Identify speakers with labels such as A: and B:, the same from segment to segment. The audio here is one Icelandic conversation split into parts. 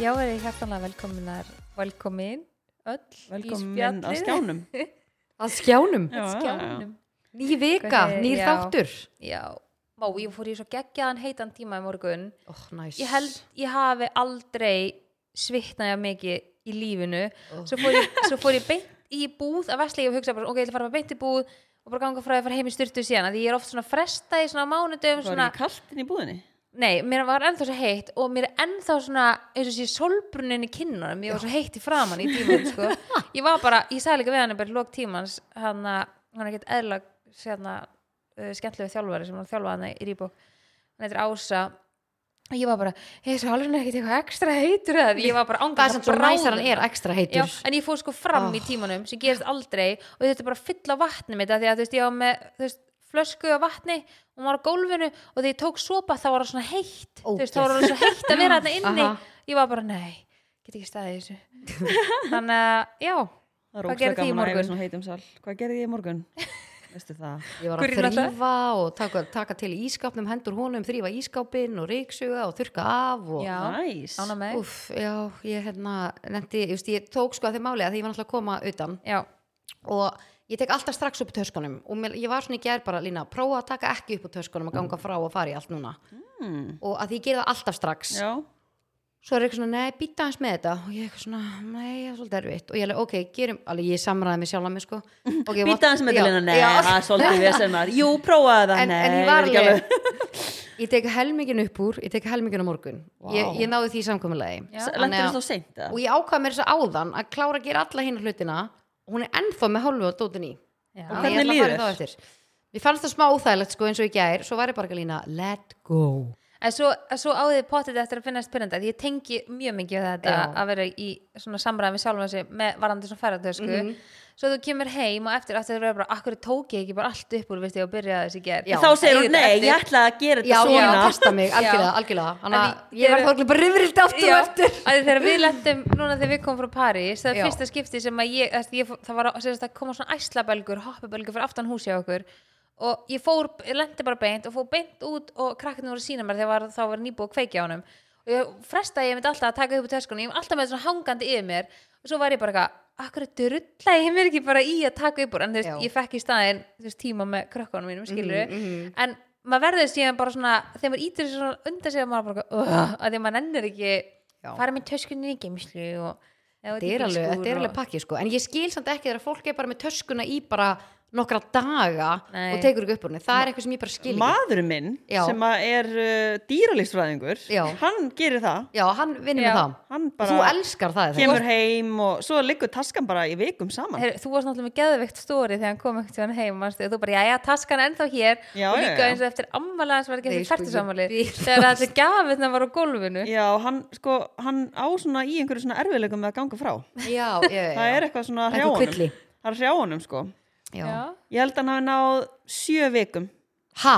A: Já, það er hjartanlega velkominar, velkomin öll
B: Velkomin að skjánum
C: Að skjánum?
B: Já, já, já.
A: skjánum.
C: Ný vika,
A: Hvernig-
C: nýr
A: já.
C: þáttur.
A: Já, má, ég fór í svo geggjaðan heitan tíma í morgun.
C: Ó, oh, næs.
A: Ég held, ég hafi aldrei svitnaði mikið í lífinu. Svo, fór ég, svo fór ég beint í búð að veslega og hugsa bara, ok, ég ætla að fara bara beint í búð og bara ganga frá því að fara heim í styrtu síðan. af Því ég er oft svona fresta í svona mánudum,
B: Það var
A: svona,
B: ekki kalt inn í búðinni
A: nei, mér var ennþá svo heitt og mér er ennþá svona, eins og sé solbrunin í kinnunum, ég var svo heitt í framann í tímanum, sko. Ég var bara, ég sagði líka við hann bara í lok tímans, hann að, hann er ekkert eðla, sérna, uh, skemmtilegu þjálfari sem hann þjálfaði hann í Rýbók, hann heitir Ása, og ég var bara, ég er svo alveg ekkert eitthvað ekstra heitur eða, ég var bara
C: Það
A: angað
C: er samt svo næs að hann er ekstra heitur.
A: Já, en ég fór sko fram
C: Ah.
A: í tímanum sem gerist aldrei og þetta er bara að fylla vatni mitt af því að þú veist, ég var með þú veist, flösku af vatni og maður á gólfinu og þegar ég tók sopa þá var það svona heitt þú veist, þá var það svo heitt að vera þarna inni
C: Aha.
A: ég var bara, nei, get ekki staðið í þessu þannig að, já
B: Það er
A: Hvað
B: ógeðslega
A: gerðuð þið í
B: gaman að eiga
A: morgun?
B: svona heitum sal Hvað gerði ég í morgun? Veistu það?
C: Ég var að
A: Hverju náttúrulega?
C: þrýfa og taka, taka til í ískapnum, hendur honum, þrýfa ískapin og reyksuga og þurka af og...
A: já,
B: Næs
A: ána með þig.
C: Úff, já, ég hérna, nefndi, just, ég tók sko að þeim máli að því ég var náttúrulega að koma utan
A: já,
C: og ég tek alltaf strax upp töskunum og mér, ég var svona í gær bara, Lína, prófa að taka ekki upp úr töskunum að ganga frá og fara í allt núna
B: mm.
C: og að því ég gerði það alltaf strax
B: Já,
C: svo er eitthvað svona, nei, býta aðeins með þetta og ég eitthvað svona, nei, það er svolítið erfitt og ég alveg, ok, gerum, alveg ég samræði mig sjálf að mig sko okay, what-
B: býta aðeins með
C: já,
B: tilina Nei,
C: já.
B: það er svolítið vesennar Jú, prófaði það
C: en,
B: Nei,
C: en ég
B: er
C: var
B: ekki
C: alveg ég tek helmingin upp úr, ég tek helmingin á morgun
B: Vá.
C: ég, ég náði því samkominlegi
A: Já.
B: Lentur þess þá seint eða?
C: og ég ákvað mér þess að áðan að klára að gera alla hinn hlutina og hún er ennþá með hálfu og dótin í
A: já,
B: Og hvernig líður þér?
C: Ég fannst það smá óþægilegt sko eins og í gær svo var ég bara ekki lína, let go
A: en svo, en svo áðið potið eftir að finna spyrjanda því ég tengi mjög mikið við þetta
C: Já.
A: að vera í svona samræðum við sjálfum þessi með varandi svona ferðartösku
C: Mhm.
A: svo þú kemur heim og eftir eftir að vera bara akkur tók ég ekki bara allt upp úr veist ég og byrjaði þessi gerð
C: Já.
B: Þá segir hún,
A: Eigið þetta
B: nei,
A: eftir.
B: ég ætla að gera
C: Já,
B: þetta
C: ég
B: svona
C: kasta mig, algjörlega,
A: Já.
C: algjörlega Þannig
A: En
C: að
A: ég-
C: ég var þá bara rifrilt aftur og eftir
A: að þegar við lendum núna þegar við komum frá París það er
C: Já.
A: fyrsta skipti sem að ég, að ég fó- það var að það koma svona æslabelgur hoppabelgur fyrir aftan húsi á okkur og ég fór, ég lendi bara beint og fór beint út og krakkinu voru að sína mér þegar var, þá var nýbúið að kveikja á honum og ég frestaði ég myndi alltaf að taka upp úr töskunni ég var alltaf með þetta svona hangandi yfir mér og svo var ég bara eitthvað, akkur drulla ég mér ekki bara í að taka upp úr en þú veist,
C: Já. Mhm,
A: ég fekk í staðin veist, tíma með krökkunum mínum skilur en maður verður síðan bara svona þegar maður ítir þessu svona undan sig að maður bara uh, að því að maður nennir ekki
C: Já.
A: fara með töskunni í geimslu og
C: Þetta er alveg, þetta er alveg pakki sko En ég skil samt ekki þegar fólk er bara með töskuna í bara nokkra daga
A: Nei.
C: og tekur ekki upp úr henni Það er eitthvað sem ég bara skil ekki
B: Maðurinn minn,
C: Já.
B: sem að er uh, dýralýsfræðingur
C: Já.
B: Hann gerir það
C: Já, hann vinnir
A: Já.
C: með það
B: Hann
C: Og
B: bara
C: Þú elskar það er það
B: kemur heim og svo liggur taskan bara í vikum saman
A: Her, þú varst náttúrulega með geðveikt stóri þegar hann kom ekkert hann heim manstu, og þú bara, já, já, taskan er ennþá hér
B: Já,
A: og
B: já,
A: líka
B: já.
A: eins og eftir ammala hans var ekki
C: Nei,
A: eftir
C: sko, ég
A: færtusamali
C: býr-
A: þegar þetta gafið það var á gólfinu
B: Já, hann, sko, hann á svona í einhverju svona erfiðleikum með að ganga frá
C: Já, já, já
B: Það er eitthvað svona að hrjá
C: Einhver
B: honum
C: kvilli.
B: Það er að hrjá honum, sko
C: Já.
B: Ég held að hann hafi náð sjö vikum
C: Ha?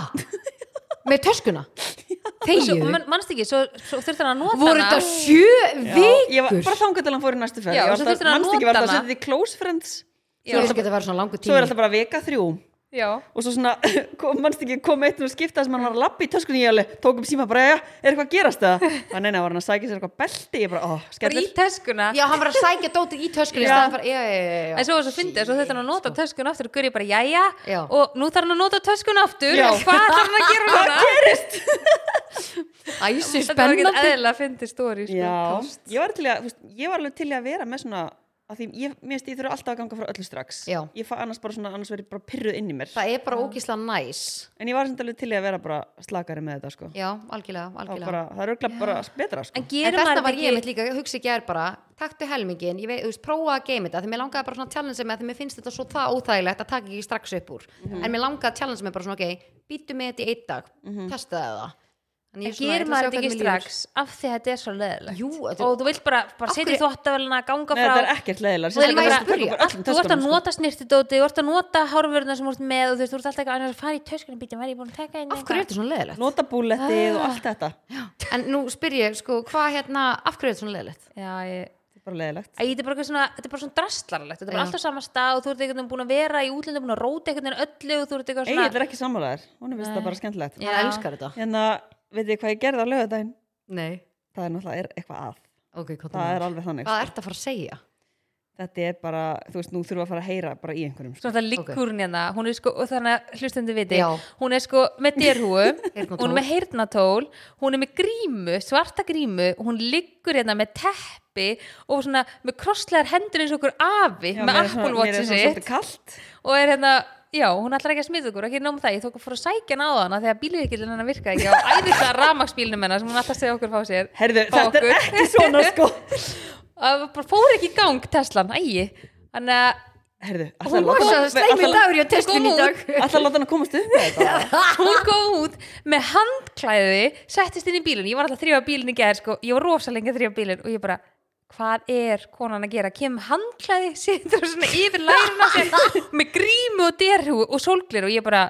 C: Með töskuna?
A: Svo,
C: Þegju?
A: man, manstu ekki, svo, svo þurfti hann að nota
C: Voru þetta sjö
B: Ég var
C: vikur?
B: bara þangað til hann fór í næstu ferð
A: Já,
B: Ég
A: svo
B: var alltaf-
A: þurfti hann að
B: manstu ekki
A: nota
B: var það að
A: hana.
B: setja því close friends
C: Svo er þetta að vera svona langur
B: Svo
C: tími
B: er alltaf bara vika þrjú
A: já,
B: Og svo svona, kom, manstu ekki, kom eitt og skipta sem hann var að labba í töskunni Ég alveg tók um síma bara, "Jæja, er eitthvað að gerast það? Þannig að var hann að sækja sér eitthvað belti Ég bara, ó,
A: bara í
B: skellir
A: töskuna
C: Já, hann var að sækja dótið í töskunni
B: Já.
C: í staðinn fyrir- já, já, já, já.
A: en svo var svo fyndið, svo þurfti hann að nota töskuna aftur og gurið bara, já, já,
C: sko. Já.
A: og nú þarf hann að nota töskuna aftur
B: Já.
A: og hvað þarf hann að gera núna?
C: Æsi
A: þetta var ekkert
C: spennandi
A: eðla fyndið sko. stóri
B: Já, ég var, til í að, þú veist, ég var alveg til í að vera með svona að því ég, mér finnst ég þurfa alltaf að ganga frá öllu strax
C: Já.
B: ég fá annars bara svona, annars verið bara pyrruð inn í mér
C: Það er bara ógísla næs
B: en ég var samt alveg til í að vera bara slakari með þetta sko.
C: Já, algjörlega,
B: það,
C: algjörlega
B: bara, það er auðvitað bara betra sko.
A: en
C: En
A: gerir maður
C: þarna
A: þetta
C: var ég
A: ekki
C: mitt líka, hugsi ekki er bara Taktu helmingin, ég veit, þú veist, prófa að geima þetta Þegar mér langaði bara svona að challenge með Þegar mér finnst þetta svo það óþægilegt að taka ekki strax upp úr
A: Mhm.
C: En mér langaði að challenge með bara svona, ok Býtu með þetta í einn dag, testaði það
A: Mhm. En
C: Þannig ég svona, ég
A: gerir
C: ætla að
A: maður
C: sjá
A: þetta ekki
C: hvernig mér líður.
A: strax af því að þetta er svo leðilegt
C: Jú, þetta-
A: og þú vilt bara, bara
C: Af
A: setja
C: hverju-
A: þóttavelina ganga
B: Nei,
A: frá
B: þetta er um ekkert leðilega
A: Og það er líka bara-
B: bara,
A: þú ert að nota snirtidóti, þú ert að nota hárvörðuna sem þú ert með og þú veist, þú ert alltaf eitthvað annars að fara í töskunum býtum, væri ég búin að taka inn
C: Af hverju er þetta svona leðilegt?
B: nota búlettið
A: Ah.
B: og allt þetta þetta
C: En nú spyr ég, sko, hvað hérna, af hverju er þetta svona leðilegt?
A: Já, ég
B: er bara leðilegt
A: Æ, þetta er bara eitthvað svona, þetta er bara svona drastlarlegt þetta er bara
C: Já.
A: alltaf sama stað og þú ert einhvern veginn búin að vera í útlöndum búin að róta einhvern veginn öllu og þú ert eitthvað
B: Egil
A: svona
B: er ekki sammálaðar, hún er vist það bara skemmtilegt Hérna,
A: Já.
C: Hann elskar þetta.
B: en að, veit þið hvað ég gerði á lögadaginn
C: Nei.
B: það er náttúrulega er eitthvað að
C: ok, hvað
B: það er alveg þannig
C: hvað ertu að fara að segja?
B: þetta er bara, þú veist, nú þurfum við að fara að heyra bara í einhverjum sko.
A: Svona það liggur hún hérna, hún er sko, og þannig að hlustandi viti,
C: Já.
A: hún er sko með derhúu,
C: Heyrnartól.
A: hún er með heyrnatól, hún er með grímu, svarta grímu, og hún liggur hérna með teppi og svona með krosslegar hendur eins og okkur afi
B: Já,
A: með
B: mér er svona-
A: Apple
B: mér
A: Watchi
B: er svona
A: sitt
B: svolítið kalt
A: og er hérna, já, hún ætlar ekki að smita okkur, ekki nóg með það, ég tók að fór að sækja hana á hana þegar bílirikillin hennar virkaði ekki á æðislega rafmaksbílnum hennar sem hún ætlar að segja okkur fá sér.
B: Herðu,
A: fá
B: þetta er
A: okkur.
B: ekki svona sko
A: Það bara fór ekki í gang Teslan, ægi, þannig að
B: Herðu,
C: Hún
B: alltaf
C: var svo sleimur dagur í testin í
A: Góð.
C: dag
B: Alltaf láta hann að komast upp með þetta
A: hún kom út með handklæði settist inn í bílinn, ég var alltaf að þrjóða bílinn í gerð sko, ég var rosa lengi að þrjóða bílinn og ég bara, hvað er konan að gera kem handklæði, setur svona yfir lærun á sér, með grímu og derhú og sólglir og ég bara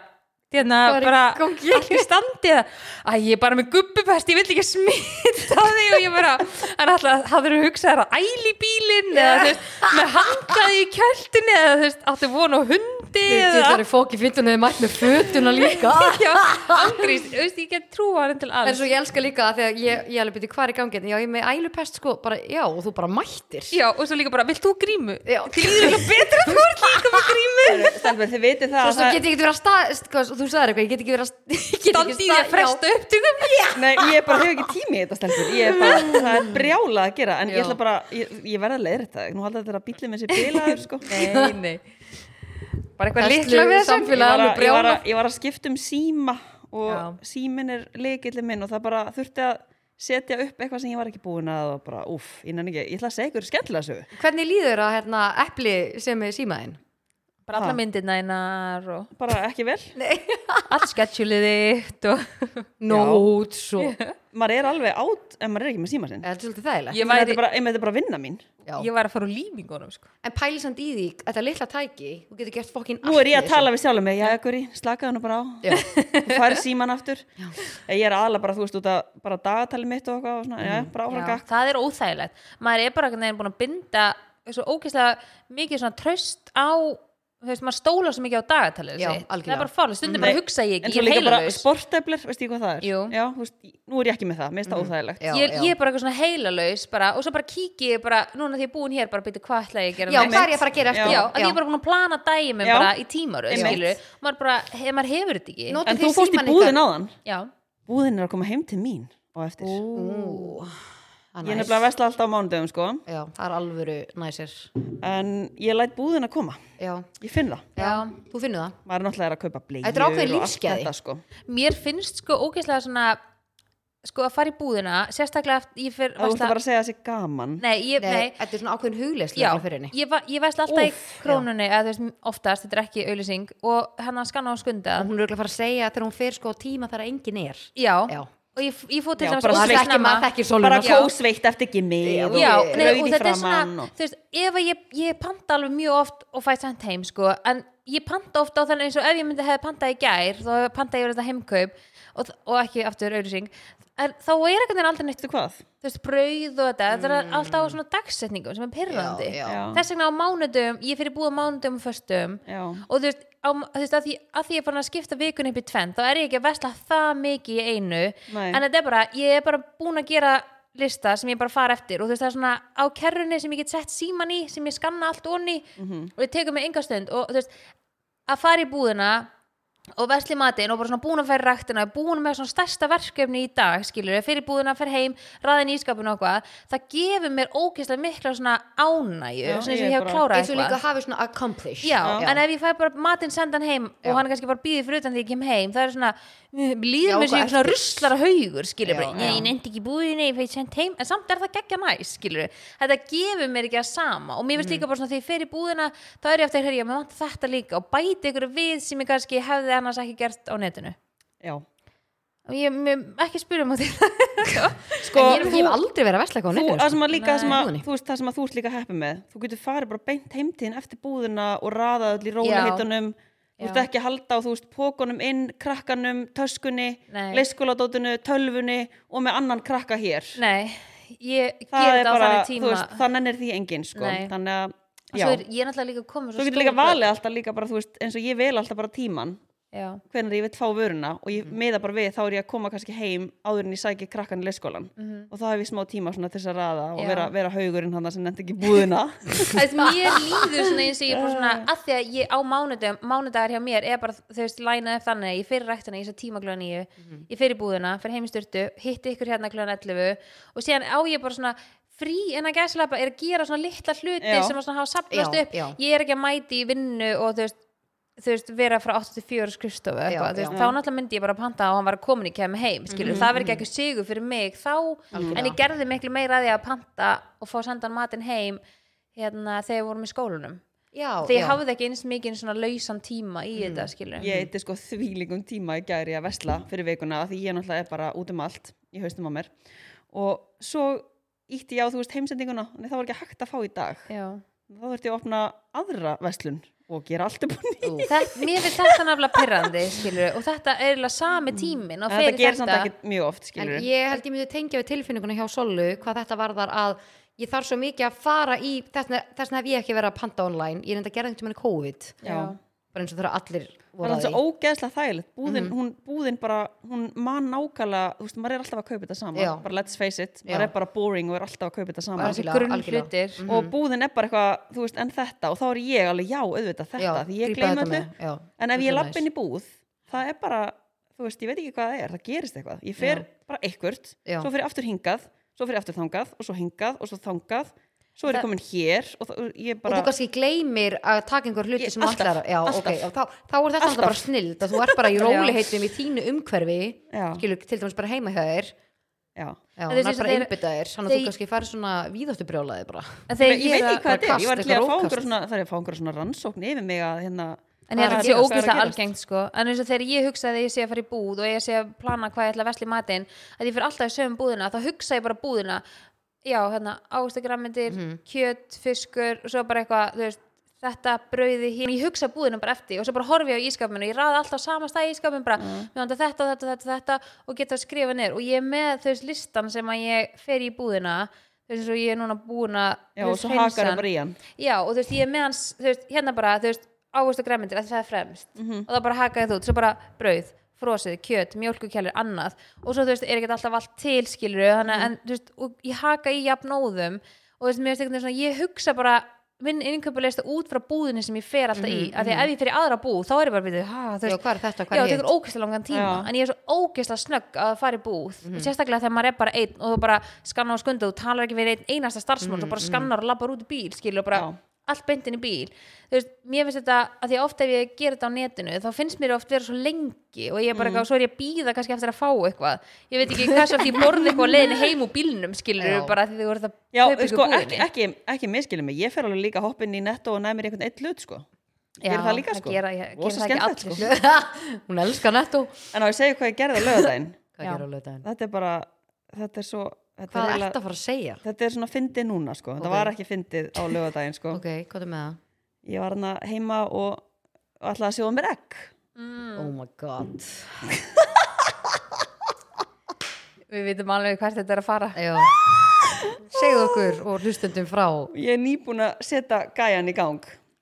A: Þérna,
C: Hvað er í
A: bara,
C: gangi?
A: allt í standi eða, að ég er bara með gubbupest ég vill ekki smita þig og ég bara, hann alltaf, hafður þú hugsað þér að æli bílinn eða, þú veist, með handklæði í kjöltinni eða, þú veist, áttu vonu á hundi eða,
C: Þetta er fóki fyndun eða mætt með fötuna líka
A: Já, angrís, þú veist, ég get trúa hann til
C: En
A: alls
C: svo ég elska líka að þegar ég, ég alveg byrja hvað er í gangi hérna? Já, ég er með ælupest sko, bara, já, og þú bara mættir
A: Já, og svo líka bara, vilt þú grímu?
C: Já.
A: Þið eru eitthvað betra að þú ert líka með grímu
B: Stelbur, þið vitið það
C: Svo
B: að
C: sko, svo
B: það-
C: get ég ekki verið að stað, sko, þú sagðir eitthvað, ég get ekki verið að sta- ég get ekki
A: Standi í því að
C: stað-
A: fresta upptökum
B: Nei, ég er bara hef ekki tími í þetta stelpur Ég er bara, það er brjála að gera En
C: Já.
B: ég ætla bara, ég, ég verða að leiðra þetta Nú halda þetta að bíllinn með sér bilaður sko.
A: Nei, nei Bara eitthvað
C: Þessu
A: litla við þessum
B: ég, var
C: samfélag alveg
B: að, ég, var
C: brjála
B: að, ég var að skipta um síma Og
A: Já.
B: símin er leikillin minn Og það bara þurfti að setja upp eitthvað sem ég var ekki búin að og bara, úff, innan ekki, ég ætla að segja ykkur skemmtilega sögu
C: Hvernig líður að hérna, epli sem er símaðinn?
A: Bara alla myndirna einar og
B: bara ekki vel,
A: allt sketsjulið þitt og
C: Nót, svo Þetta
B: maður er alveg átt en maður er ekki með síma sinn
C: er svolítið þægilegt
A: Ég
B: Þannig að þetta
A: væri,
B: er bara, einmitt, þetta er bara vinna mín
C: Já.
A: ég væri að fara úr límingunum sko.
C: En pælisand í því, þetta litla tæki Þú getur gert fokkin
B: Nú er ég að tala við sjálfum mig, já, ekkur í, slakaðu hann bara á
C: Já.
B: Þú færi síman aftur Ég er aðla bara, þú veist, út að bara dagatali mitt og eitthvað og svona,
A: Mhm.
B: já,
A: Oh
B: bara áfram
C: Já.
B: gakk
A: Það er óþægilegt Maður er bara einhvern veginn búin að binda svo ógeðslega mikið svona tröst á þú veist, maður stóla svo mikið á dagatalið
C: Já,
A: sitt. Það
C: algjörlega.
A: er bara fálega, stundum
B: Nei,
A: bara hugsa ég
B: En
A: ekki
B: svo
A: Ég er
B: líka bara
A: heilalaus
B: sporteflur, veist ég hvað það er
A: Jú. Mhm.
B: Já, þú veist, nú er ég ekki með það, mér finnst það óþægilegt
C: Já,
A: ég, ég er bara eitthvað svona heilalaus bara, og svo bara kíki ég bara, núna því ég er búin hér bara byrja hvað ætla ég að gera
C: Já,
A: næst?
C: hvað er ég að fara að gera eftir?
A: já, að ég er bara búin að plana dæmi
B: Já.
A: bara í tímaru
B: Einmitt.
A: skilu, maður bara, hef, maður hefur þetta ekki
C: Notið
B: En
C: þið
B: þú fórst í
C: símann
B: búðin
C: ykkar?
B: áðan
A: já,
B: Búðin er að koma heim til mín og eftir
C: Ú, það
A: Ah,
B: Ég er
C: er næs.
B: nefnilega að vesla alltaf á mánudöfum, sko
C: Já, það er alvöru næsir
B: En ég læt búðin að koma,
C: Já,
B: ég finn það
C: já, þú finnur það
B: Maður er náttúrulega að kaupa bleið
C: Þetta er ákveðin lífsgæði.
B: sko.
A: mér finnst sko ógeðslega svona sko að fara í búðina sérstaklega eftir, ég fer
B: Það þú ert
A: versla-
B: bara að segja þessi gaman
A: nei, ég,
C: Nei,
A: nei,
C: þetta er svona ákveðin
A: já,
C: hugleyslega fyrir henni
A: ég, va- ég veist alltaf
B: Úff,
A: í krónunni eða þú veist, oftast, þetta er ekki auðlýsing og hann að skanna á skunda
C: og hún er örugglega að fara að segja þegar hún fer sko á tíma þar að enginn er
A: já,
C: Já.
A: og ég, f- ég fór til
B: Já,
A: dæmis
B: bara
A: ógeðslega snemma.
B: svekkja
C: maður þekkir, maður þekkir sóluna
B: bara
C: sko.
B: kósveikt eftir gimmið
C: Já,
B: og
A: Já,
C: Þú-
A: nei, og
B: rauð í
A: þetta er
B: framann
A: svona,
B: og...
A: þú veist, ef að ég, ég panta alveg mjög oft og fæ sent heim, sko, en ég panta oft á þannig eins og ef ég myndi hefði pantað í gær, þá hefði pantað ég verið þetta heimkaup og, og ekki aftur auðvísing, en þá er ekkert en aldrei neitt,
B: Veistu hvað?
A: þú veist, brauð og þetta, þetta er alltaf á svona dagsetningum sem er pyrrandi.
C: Já,
B: Já.
A: Þess vegna á mánudum, ég fyrir búið á mánudum og föstum
B: Já.
A: og þú veist, á, þú veist að, því, að því ég er farin að skipta vikun upp í tvenn þá er ég ekki að vesla það mikið í einu
B: Nei.
A: en þetta er bara, ég er bara búin að gera lista sem ég bara fara eftir og þú veist það er svona á kerrunni sem ég get sett síman í sem ég skanna allt onni
B: Mhm.
A: og ég tekur mig enga stund og þú veist að fara í búðina og vesli matinn og bara svona búin að færa ræktina búin með svona stærsta verkefni í dag skilur fyrir búðina, fer heim, ræðin í skapinu og hvað, það gefur mér ógeðslega mikla svona ánægju,
B: Já,
A: svona eins og ég
B: ég er
A: hef
B: bara-
A: klárað
C: eins og líka hafi svona accomplished
A: já, en ef ég fæ bara matinn sendan heim og hann kannski bara býði fyrir utan því ég kem heim það er svona, mm,
C: Já,
A: líður mér
C: hvað
A: sem ég svona ruslara haugur skilur
C: Já,
A: bara, nei,
C: já.
A: ég nefndi ekki búið nei, ég fæ send heim, en samt er það geggja næs skilur þetta gefur mér ekki að sama og mér
B: Mhm.
A: finnst líka bara svona þegar ég fer í búðina þá er ég eftir að höra, já, mér vant þetta líka og bæti ykkur við sem ég kannski hefði annars ekki gert á netinu
B: Já.
A: og ég, mér, ekki spyrja mig á því
B: Sko,
C: en ég, ég
B: þú,
C: hef aldrei verið að vesla eitthvað á
B: þú,
C: netinu sko.
B: það sem
A: sko.
B: að líka, það sem að,
C: Nei.
B: þú veist, það sem að þú ert líka heppið með, þú getur farið bara beint heimtíðin eftir búðina og raðað öll í róliheitunum, þú ert ekki að halda á, þú veist, pókunum inn, krakkanum, töskunni,
A: Nei.
B: leikskóladótinu, tölvunni og með annan krakka hér.
A: nei, ég
B: það
A: ger
B: er
A: þetta á
B: bara,
A: þannig
B: þú
A: tíma
B: veist, það nennir því enginn, sko.
A: Nei.
B: Þannig að,
A: og
B: já,
A: svo er ég er náttúrulega líka komin
B: þú getur
A: stór
B: líka
A: börn.
B: valið alltaf líka bara, þú veist, eins og ég vel alltaf bara tíman.
A: já,
B: hvenær ég veit fá vöruna og
A: Mhm.
B: ég meða bara við þá er ég að koma kannski heim áður en ég sæki krakkan í leikskólan og þá hef ég smá tíma svona til þess að raða og
A: Mhm. Já.
B: vera, vera haugurinn hann sem nefndi ekki búðina
A: Æst, mér líður svona eins og ég er bara svona að því að ég á mánudagum, mánudagar hjá mér er bara þau veist lænað eftir þannig að ég fyrir ræktina í þess að tíma kljóðan níu,
C: Mhm.
A: ég fyrir búðina fyrir heim í styrtu, hitti ykkur hérna kljóðan 11 og síðan á ég bara svona frí en að gæslappa er að gera svona litla hluti
B: Já.
A: sem að svona hafa sapnast
C: Já,
A: upp
C: já.
A: ég er ekki að mæti í vinnu og þú veist þú veist, vera frá 84 skrifstofu
C: Já,
A: eitthvað, þú veist,
C: já.
A: þá náttúrulega myndi ég bara panta og hann var komin í kemur heim, skilur,
B: Mhm.
A: það verið ekki ekki sigur fyrir mig þá,
C: Algjörlega.
A: en ég gerði miklu meira að ég að panta og fá sendan matinn heim hérna þegar við vorum í skólanum
C: já,
A: þegar
C: já.
A: ég hafði ekki eins mikið svona lausan tíma í þetta, skilur
B: Mhm. ég eitthvað sko þvílingum tíma í gæri að vesla fyrir vikuna af því ég náttúrulega er bara út um allt í haustum á mér og svo ítti ég á þú veist heimsendinguna en það var ekki hægt að fá í dag
A: Já.
B: þá þurfti ég að opna aðra veslun og gera allt upp á ný
C: Ú.
A: Þetta, mér finnst þetta nefnilega pirrandi skilur, og þetta er eiginlega sami tímin og
B: En
A: fer
B: þetta
A: í
B: gerir samt ekki mjög oft
C: En
B: skilur
C: ég held ég myndi tengja við tilfinninguna hjá Sollu hvað þetta varðar að ég þarf svo mikið að fara í þess vegna- þess vegna hef ég ekki verið að panta online ég reynda að gera einhvern veginn COVID
A: Já.
C: bara eins og þegar allir
B: Það
C: voru
B: er
C: að
B: þannig
C: því
B: svo ógeðslega þægilegt,
C: Mhm.
B: búðin, hún, búðin bara, hún man nákvæmlega, þú veist, maður er alltaf að kaupa þetta saman,
C: Já.
B: bara let's face it, maður
C: Já.
B: er bara boring og er alltaf að kaupa þetta
A: bara
B: saman
A: þessi
C: Algjörlega,
A: grunn
C: algjörlega.
A: hlutir
C: Mhm.
B: og búðin er bara eitthvað, þú veist, en þetta og þá er ég alveg, já, auðvitað þetta,
C: Já,
B: því ég
C: grípa
B: gleyma
C: þetta
B: öllu,
C: með, já,
B: en ef
C: þetta er
B: ég lapp
C: næs.
B: inn í búð, það er bara, þú veist, ég veit ekki hvað það er, það gerist eitthvað, ég fer
C: Já.
B: bara eitthvert,
C: Já.
B: svo fer ég aftur hingað, svo fer ég aftur þangað og svo hingað og svo þangað, svo er
A: Það-
B: ég komin hér og það, ég
C: og
B: bara,
C: þú kannski gleymir að taka einhver hluti
B: Ég-
C: sem
B: alltaf,
C: allar já,
B: alltaf.
C: alltaf, okay, já, þá, þá er þetta alltaf bara
B: Alltaf.
C: snild að þú ert bara í
A: Já.
C: róliheitum í þínu umhverfi
B: Já.
C: skilur til dæmis bara heima hjá þér
B: já,
C: já,
A: En
C: þú
A: þú veist eins
C: er
A: og
C: bara
A: þeir-
C: einbyttaðir þannig að
A: þeir-
C: þú kannski farið svona víðáttubrjálaði bara
A: En þegar
B: ég
A: er
B: veit
A: að-
B: ekki hvað þetta er, ég var
C: kast,
B: ekki að
C: eitthvað
B: fá
C: rókast.
B: einhverja svona, það er að fá einhverja svona rannsókn yfir mig að hérna,
A: En ég held
B: hvað er
A: að þetta sé
B: gerast, hvað er að
A: ógeðslega
B: gerast?
A: algengt sko En eins og þegar ég hugsa að ég sé að fara í búð og ég sé að plana hvað ég ætla að vesla í matinn að ég fyrir alltaf í sögum búðina þá hugsa ég bara búðina Já, hérna, ástagrammindir,
B: Mhm.
A: kjöt, fiskur og svo bara eitthvað, þú veist þetta brauði hér, ég hugsa búðina bara eftir og svo bara horfi ég á ískapinu og ég raði alltaf á sama stað í ískapinu bara,
B: Mhm.
A: mér vantar þetta, þetta, þetta, þetta og geta að skrifa niður og ég er með þau veist, listan sem að ég fer í búðina þau veist, og ég er núna búin að þú
B: Já, og
A: veist,
B: svo hakar
A: hreinsa-
B: það bara í hann.
A: Já, og þú veist, ég er með hans, þú veist, hérna bara, þú veist, ávist og græmyndir, það er fremst
C: Mhm.
A: og það bara hakaði þú, út, svo bara brauð frosið, kjöt, mjólkukjælur, annað og svo, þú veist, er ekkert alltaf allt tilskilur þannig,
C: Mhm.
A: en, þú veist, og ég haka í jafnóðum og þú veist, mér veist eitthvað svona ég hugsa bara, minn innkaupalista út frá búðinni sem ég fer alltaf í, af því að ef ég fer í aðra búð, þá er ég bara, við þau, ha, þú
C: Mhm, já,
A: veist
C: hvað er þetta,
A: já,
C: hvað
A: það
C: er
A: tekur ógeðslega langan tíma
B: Já.
A: en ég er svo ógeðslega snögg að fara í búð
B: Mhm.
A: og sérstaklega þegar maður er bara einn og þú bara skannar og skunda og talar ekki við einn einasta starfsmann og bara skannar og labbar út í bíl skilur og bara
B: Mhm, Já.
A: allt beint inn í bíl þú veist, mér finnst þetta, að því að ofta ef ég ger þetta á netinu þá finnst mér oft vera svo lengi og ég er bara
B: Mhm.
A: eitthvað, svo er ég að býða kannski eftir að fá eitthvað ég veit ekki hvað svo því ég borði eitthvað á leiðinu heim úr bílnum skilur
C: Já.
A: bara af því þið voru það
B: Já, sko, ekki, ekki, ekki miskilum mig, ég fer alveg líka að hoppa inn í netto og næmi mér einhvern eitt hlut, sko. Ég
A: Já,
B: gera það líka,
A: það
B: sko.
A: gera- ég-
B: Rosa
A: gera það ekki
B: skemmtilegt, sko.
A: allir.
C: ég hún elskar netto
B: En á ég segja hvað ég gerði á löðdæn,
C: hvað
A: Já.
C: gerir á laugardaginn?
B: þetta er bara, þetta er svo, þetta, er,
C: hvað ert
B: eiginlega-
C: að fara að segja
B: þetta er svona fyndið núna, sko.
C: Ok.
B: Þetta var ekki fyndið á löðdæn, sko.
C: ok, hvað er með það?
B: Ég var hana heima og og ætlaði að sjóða mér egg.
A: Hmm.
C: oh my god
A: við vitum alveg hvert þetta er að fara
C: já segð okkur og hlustundum frá
B: Ég er nýbúin að setja gæjan í gang.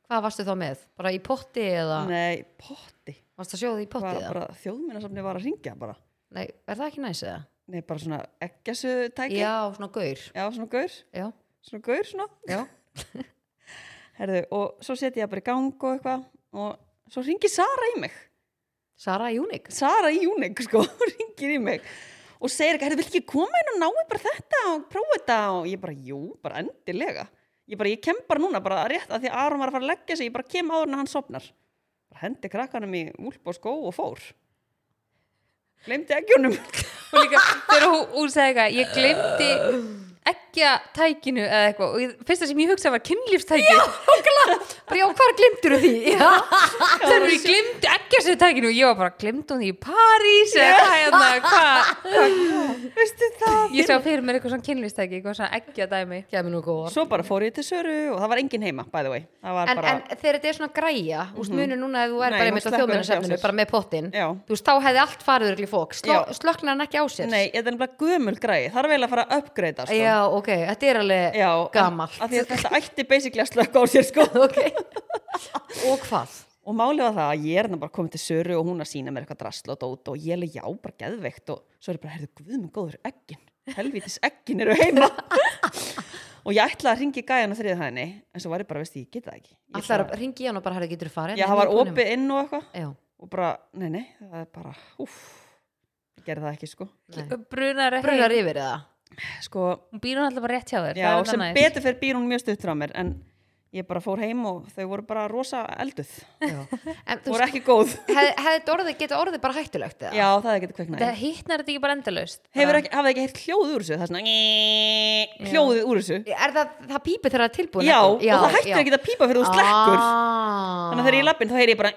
C: hvað varstu þá með? bara í potti
A: Ah.
C: eða
B: Nei, potti.
C: varstu að sjóða í potti
B: Var
C: eða?
B: bara, þjóðminnasafni var að ringja bara.
C: Nei, er það ekki næs eða?
B: Nei, bara svona eggjasöðu
C: já, svona gaur
B: Já, svona gaur.
C: já,
B: Svona gaur, svona.
C: já,
B: Herðu, og svo setja ég bara í gang og eitthvað og svo ringi Sara í mig
C: Sara Júnik
B: Sara í Júnik, sko, ringir í mig og segir ekki, herðu, vil ekki koma inn og náu bara þetta og prófa þetta og ég bara, jú, bara endilega ég bara, ég kem bara núna, bara rétt að því að Aron var að fara að leggja sig, ég bara kem áður en hann sopnar bara hendi krakkanum í úlp og skó og fór glemdi eggjunum
A: og líka þegar hún, hún sagði eitthvað ég glemdi ekki að tækinu eða eitthvað og ég, fyrsta sem ég hugsaði var kynlífstæki
C: bara já, hvað glimtur því? já,
A: þegar ég glemdi ekki að segja tækinu og ég var bara glemdi hún því í París eða hvað hérna hvað
B: veistu það
A: ég sá fyrir mér eitthvað svona kynlífstæki eitthvað svona ekki að dæmi
C: kemur nú góðar
B: svo bara fór ég til Söru og það var engin heima, by the way það var
C: en,
B: bara, Mhm.
C: en þegar þetta er svona græja mm -hmm. munur núna ef þú er
B: Nei,
C: bara
B: hún
C: með
B: slekkur ekki á
C: þjóðmennasafninu
B: sér.
C: bara með pottin
B: Já.
C: þú veist, þá hefði allt farið örugglega í fók
B: Já.
C: slöknar hann ekki á sér
B: nei, þetta er nefnilega gömul græði það er vel að fara að uppgreita, sko
C: já, ok, þetta er alveg
B: Já,
C: gamalt
B: af því að þetta ætti basically að slökka á sér sko
C: ok og hvað?
B: og málið var það að ég er hérna bara komin til Söru og hún að sína mér eitthvað drasl og dót og ég er alveg, já, bara geðveikt og svo er ég bara, heyrðu, guð minn góður, eggin helvitis eggin eru heima og ég ætlaði að ringi gæjan á þriðið hæðinni en svo var ég bara, veist, ég get það ekki ég
C: Allar að ringi í hann og bara, herðu, getur þú farið?
B: já,
C: Nei,
B: það var
C: ég er búin um-
B: opið inn og eitthvað
C: Já,
B: og bara, nei, nei, það er bara, úff ég gerði það ekki, sko
C: nei.
A: brunar er
C: Brunar
A: heim
C: yfir eða?
B: sko,
A: hún býr hún alltaf bara rétt hjá þér
B: já,
A: það er
B: sem
A: annað næs.
B: betur fyrir býr hún mjög stutt frá mér en ég bara fór heim og þau voru bara rosa elduð,
C: Já. En þú
B: voru ekki góð
C: hefði hef þetta orðið, geta orðið bara hættulegt eða?
B: já, það er ekki kveiknað
A: það hittnar þetta ekki bara endalaust
B: Hefur ekki, hafið ekki heyrt hljóðið úr þessu? Það er svona hljóðið úr þessu.
C: Er það, það pípið þegar það er tilbúin?
B: Já,
C: ekki?
B: og það hættir
C: já.
B: ekki að pípa fyrir þú slekkur.
C: Ah.
B: Þannig að þegar ég er í lappin þá heyri ég bara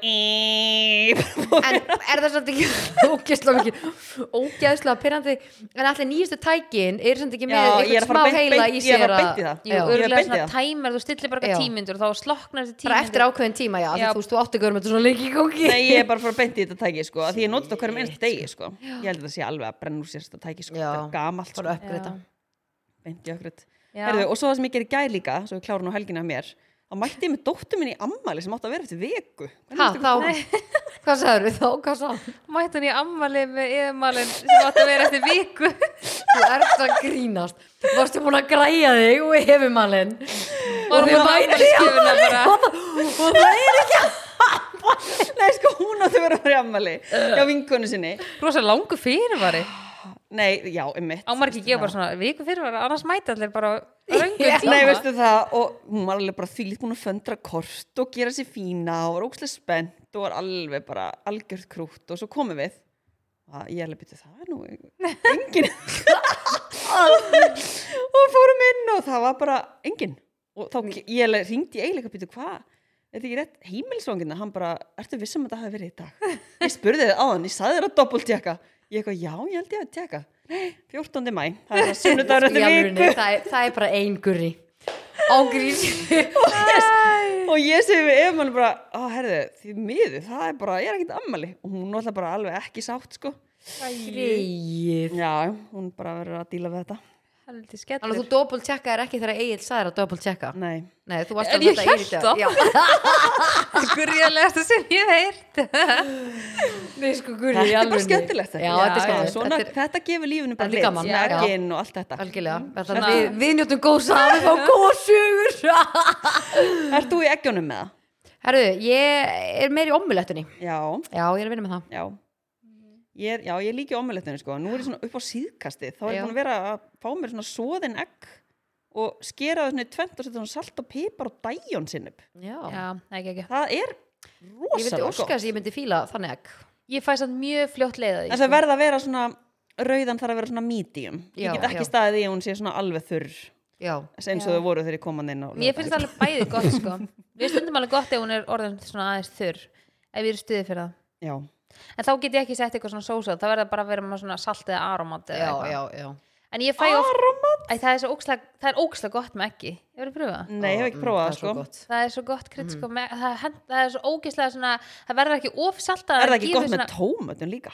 C: en er það samt ekki ógeðslega mikið ógeðslega pyrrandi en allir nýjastu tækin er samt
B: Já,
C: ekki með
B: ég er að
C: eitthvað smá
B: fara beint-
C: heila
B: beint-
C: í
B: ég er að
C: sér
B: fara beint í það.
A: Jú,
C: Já.
B: Ég er
A: örgulega
B: beint í
A: svona
B: það.
A: tæmir, þú stillir bara
C: Já.
A: eitthvað tímyndur og þá sloknar þessi
C: bara
A: tímyndur
C: eftir ákveðin tíma já, já.
A: Já.
C: þú veist þú átti görum þetta svona lengi í gangi
B: Nei, ég er bara að fara að beinti þetta tæki, sko. af Því ég nota þetta á hverjum einst degi, sko. Ég held að þetta sé alveg að brenna úr sér þetta tæki, sko.
C: Já.
B: Þetta er gamalt, sko.
C: bara að uppgreita
B: Beint í akkurat.
A: Já.
B: Herðu, og svo það sem ég gerir gæð líka, svo ég klára nú helgina af mér, þá mætti ég með dóttur minni í ammali sem átti að vera eftir viku.
C: ha, þá, hvað sagður við þá, hvað sá
A: mætti hún í ammalið með yðmalinn sem átti að vera eftir viku
C: þú ert að grínast varstu búin að græja þig og hefumallin og
A: Var
C: þau
A: hún bara
C: mætti
A: afmælisgjöfuna bara?
C: og það er ekki
B: Nei, sko, hún átti að vera að fara í ammali. Já, vinkonu sinni.
A: rosa langu fyrirvari
B: Nei, já, um
A: ámar ekki að gefa bara svona viku fyrirvari annars mæti allir bara á röngu
C: Já.
B: Nei,
A: tíma
B: veistu það, og hún var alveg bara þvílít búin að föndra kort og gera sér fína og var ókslega spennt og var alveg bara algjörð krútt og svo komum við að ég alveg byrja það er nú engin og fórum inn og það var bara engin og þá ke- ég alveg ringdi í eiginlega byrja hvað Er þetta ekki rétt heimilisvangina? Hann bara, ertu vissum að þetta hafi verið í dag? Ég spurði þið á hann, ég saði þér að doppeltjekka. Ég eitthvað, já, ég held ég að tjekka. Nei, 14. mæ, það er það sunnudagur
C: Í
B: eftir
C: alvörunni,
B: viku.
C: það er, það er bara ein gurri ágrís
B: og ég segi við Eman bara, að herðu, því miður, það er bara, ég er ekkert ammali og hún náttúrulega bara alveg ekki sátt, sko
C: greið
B: Já, hún bara verður að díla við þetta
A: heldur
C: Þannig að þú
A: skellur
C: doppelt tjekka er ekki þegar Egil sagði að doppelt tjekka
B: Nei,
C: Nei, þú varst
A: En
C: alveg
A: ég
C: þetta
A: hélt
C: Egill
A: það.
C: Já,
A: gurjalegasta sem ég heirt
C: nei sko gulli
B: þetta er bara skemmtilegt
C: Já, þetta er
B: þetta,
C: skemmtilegt
B: svona,
C: Þetta er
B: þetta gefur lífinu
C: Þetta er
B: bara lit,
C: gaman, já.
B: snakkin og allt þetta
C: algjörlega Þannig
A: Svona-
C: að við, við njóttum góð saman og góð sögur
B: Ert þú í eggjónum með það?
C: Herru, ég er meir í ommulettunni
B: Já,
C: Já, ég er að vinna með það
B: já
C: Mm.
B: Ég er, já, ég er líki omulettinu sko, nú er ég svona upp á síðkastið, þá er
C: Já.
B: ég búin að vera að fá mér svona soðin egg og skera það svona í tvent og setja svona salt og pipar og dæjón sinnum.
C: Já,
A: já, ekki ekki
B: Það er
C: ég vildi
B: rosalega
C: óska
B: gott.
C: þess að ég myndi fíla þannig ekki
A: ég fæ samt mjög fljótt leið að því
B: En það verða að vera svona rauðan þarf að vera svona medium
C: Já,
B: ég get ekki
C: já.
B: staðið í að hún sé svona alveg þurr
C: Já,
B: eins og
A: Já.
B: þau voru þegar ég kom hann inn á
A: mér finnst það alveg bæði gott sko við stundum alveg gott ef hún er orðin svona aðeins þurr ef ég er stuði fyrir það
B: Já,
A: en þá get ég ekki sett eitthvað svona sósa það verður bara að vera með svona salt eða aromat eða
C: já,
A: eitthvað.
C: já, já.
A: En ég fæ oft Æ, það, er svo ókslega, það er ókslega gott með ekki Ég verið að pröfa það
B: nei, ég hef ekki
C: Mm,
B: prófað það
C: það er svo
B: sko
C: gott.
A: Það er svo gott krydd
B: Mm.
A: sko, með, það, hend, það er svo ógislega svona Það verður ekki ofsaltað
B: Er það ekki gott með tómötum líka?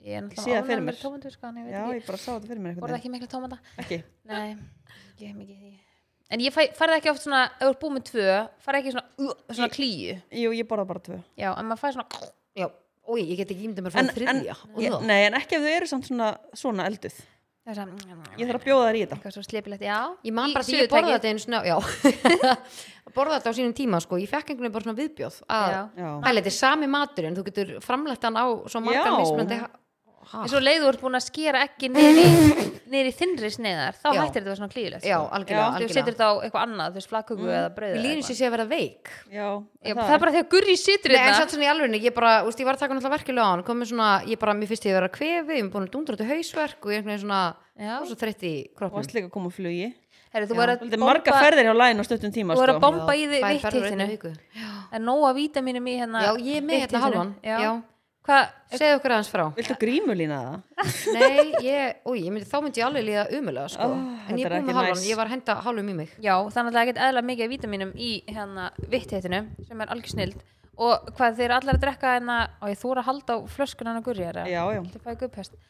A: Ég er
B: Ég sé
A: náttúrulega
B: það fyrir
A: ánægð
B: mér.
A: með tómatu sko, en ég veit
B: Já,
A: ekki
B: ég bara sá þetta fyrir
A: Voru
B: mér
A: það
B: einhvern
A: ekki mikla tómata?
B: veginn Ekki,
A: Nei, ekki hef mikið í því En ég fæ, færði ekki oft svona Ef þú er búið með tvö Færði ekki svona, uh, svona klíu
B: jú, ég borða bara tvö
A: Já, en maður færði svona
C: já. Új, ég get ekki ímyndið mér frá
B: en, en,
C: þriðja
B: ég,
C: Úða.
B: Nei, en ekki ef þau eru samt svona, svona elduð
A: Það er svona
B: Ég þarf að bjóða þær í þetta
A: Eitthvað svo slepilegt, já
C: Ég man
A: Í
C: bara því ég borða
A: suðutækið.
C: þetta einu svona, já, borða þetta á sínum tíma, sko, ég fekk einhvern veginn bara svona viðbjóð að,
A: Já.
B: Já.
C: mæli, þetta er sami maturinn, þú getur framlegt hann á svo margan
B: Já.
C: mismunandi, ha,
B: Ah.
A: En svo leiður þú ert búin að skera ekki niður í þinnri sneiðar þá
C: Já.
A: hættir þetta að vera svona klíðilegt
C: já,
B: Já. Mm.
C: algjörlega,
A: Þú
C: algjörlega.
A: setur þetta á eitthvað annað, þú veist, flakköku eða brauð
C: Við
A: eða
C: líðum
A: eitthvað.
C: sér sé að vera veik.
B: Já,
A: Já, það er bara þegar gurri situr
C: Nei, en
A: þetta
C: satt svona í alvegni, ég bara, úst, ég var að taka náttúrulega verkilega á hann, komið svona, ég bara, mér finnst ég að vera kvefi, ég er búin að dundra þetta hausverk og ég er einhvern veginn svona,
A: Já.
C: og svo þreytt í kroppnum.
B: Varst líka að koma á flugi
A: Herri, þú verður að
B: Svolítið marga
A: bomba-
B: ferðir hjá lægin á stuttum tíma
A: Þú verður að
B: sko.
A: bomba í því
C: Tvær
A: vitt
C: ferðir á einni
A: hittinu
C: viku.
A: En nóga vítaminum í hérna
C: Já, ég er með
A: vitt
C: hérna
A: hittinu.
C: halvan,
A: Já.
C: já.
A: Hvað,
C: Segðu okkur aðeins frá.
B: Viltu grímulína það?
C: Nei, ég, új, ég myndi, þá myndi ég alveg líða umulega sko.
B: Oh,
C: en ég
B: þetta er
C: er búin
B: ekki
C: með hálfum,
B: næs.
C: ég var að henda hálfum í mig
A: já, þannig að það get eðla mikið af vítaminum í hérna vitt hittinu sem er algjör snild og hvað þeir eru allar að drekka hérna og ég þúr að halda á flöskun hann að gurri
B: Já, já.
A: Þetta fæði guppest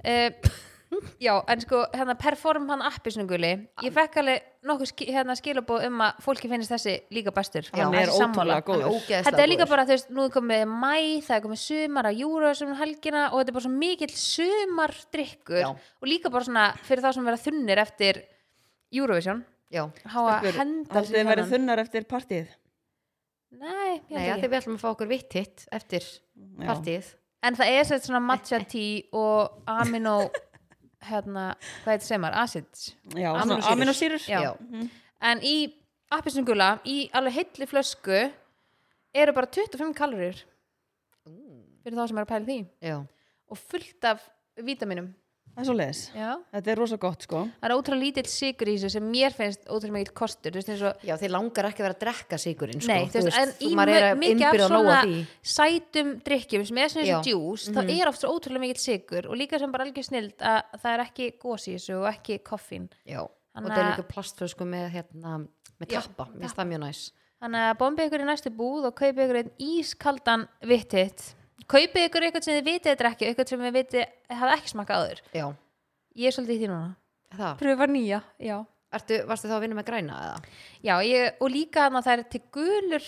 A: uh, já, en sko, hérna perform hann appi snuguli, ég fekk alveg nokkuð skil, hérna skilabóð um að fólki finnst þessi líka bestur
B: Hann
A: Já,
B: er
A: þessi sammála.
B: ótrúlega góður.
C: ógeðslega
A: Þetta er líka
C: góður.
A: bara, þú veist, nú er komið mæ, það er komið sumar að júra sem helgina og þetta er bara svo mikill sumardrykkur
C: Já.
A: og líka bara svona fyrir þá sem vera þunnir eftir Eurovision
C: Já,
A: hafa hendar
B: Haldið þið verið þunnar eftir partíð
A: Nei, ég held
C: nei, að
A: ekki
C: því við ætlum að fá okkur vitt hitt eftir partíð
A: En það er sett svona matcha tea og amino hérna, hvað heitir sem er, acids
B: Já,
C: Aminosyrum.
B: aminosýrur
A: Já. En í appisnugula, í alveg heilli flösku eru bara 25 kalorir fyrir þá sem er að pæla í því
C: Já,
A: og fullt af vítaminum
B: Það er svo leiðis
A: Já.
B: Þetta er rosa gott sko
A: Það er ótrúlega lítill sigur í þessu sem mér finnst ótrúlega mikill kostur, þú veist eins og
C: já þið langar ekki að vera að drekka sigurinn sko.
A: Nei, þú veist, en í
C: maður er
A: mö-
C: að
A: mikið af
C: innbyrða nóg
A: svona
C: af því.
A: sætum drikkjum sem er svona eins og
C: Já.
A: djús, þá er oft svo ótrúlega mikill sigur og líka sem bara algjör snild að það er ekki gós í þessu og ekki koffín.
C: Já, og
A: Þannig
C: það er
A: að-
C: líka plastflösku með, hérna, með
A: Já,
C: tappa, mér finnst það mjög næs
A: Þannig að bombi ykkur í næstu búð og kaupi ykkur einn ískaldan vittitt. Kaupi ykkur eitthvað sem þið vitið að drekja, eitthvað sem þið vitið hafa ekki smakkað áður.
C: Já,
A: Ég er svolítið í því núna.
C: það,
A: Pröfa nýja, já.
C: Ertu, varstu þá að vinna með græna eða?
A: Já, ég, og líka hann að það er til gulur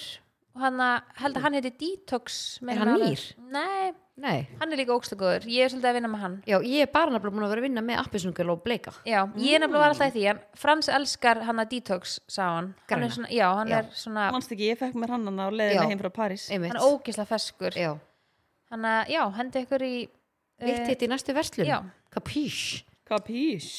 A: og hann að, held að hann heiti Detox meina
C: hann
A: maður.
C: nýr?
A: Nei,
C: Nei,
A: hann er líka ógslugóður, ég er svolítið að vinna með hann
C: já, ég er bara nefnilega búin að vera að vinna með appisnungul og bleika
A: Já,
C: Mm.
A: ég er nefnilega var alltaf í því en Frans elskar hann að Detox, sá hann hann
C: Græna.
A: er svona, Já, hann
C: Já.
A: er svona,
B: Manst ekki, ég fekk mér hann á
C: Já.
B: leiðinni heim frá París
A: hann
C: Einmitt,
A: er ógislega feskur
C: já,
A: Hann að, já, hendi ykkur í
C: vitt hitt í næstu verslun
A: já.
C: Kapís
B: Kapís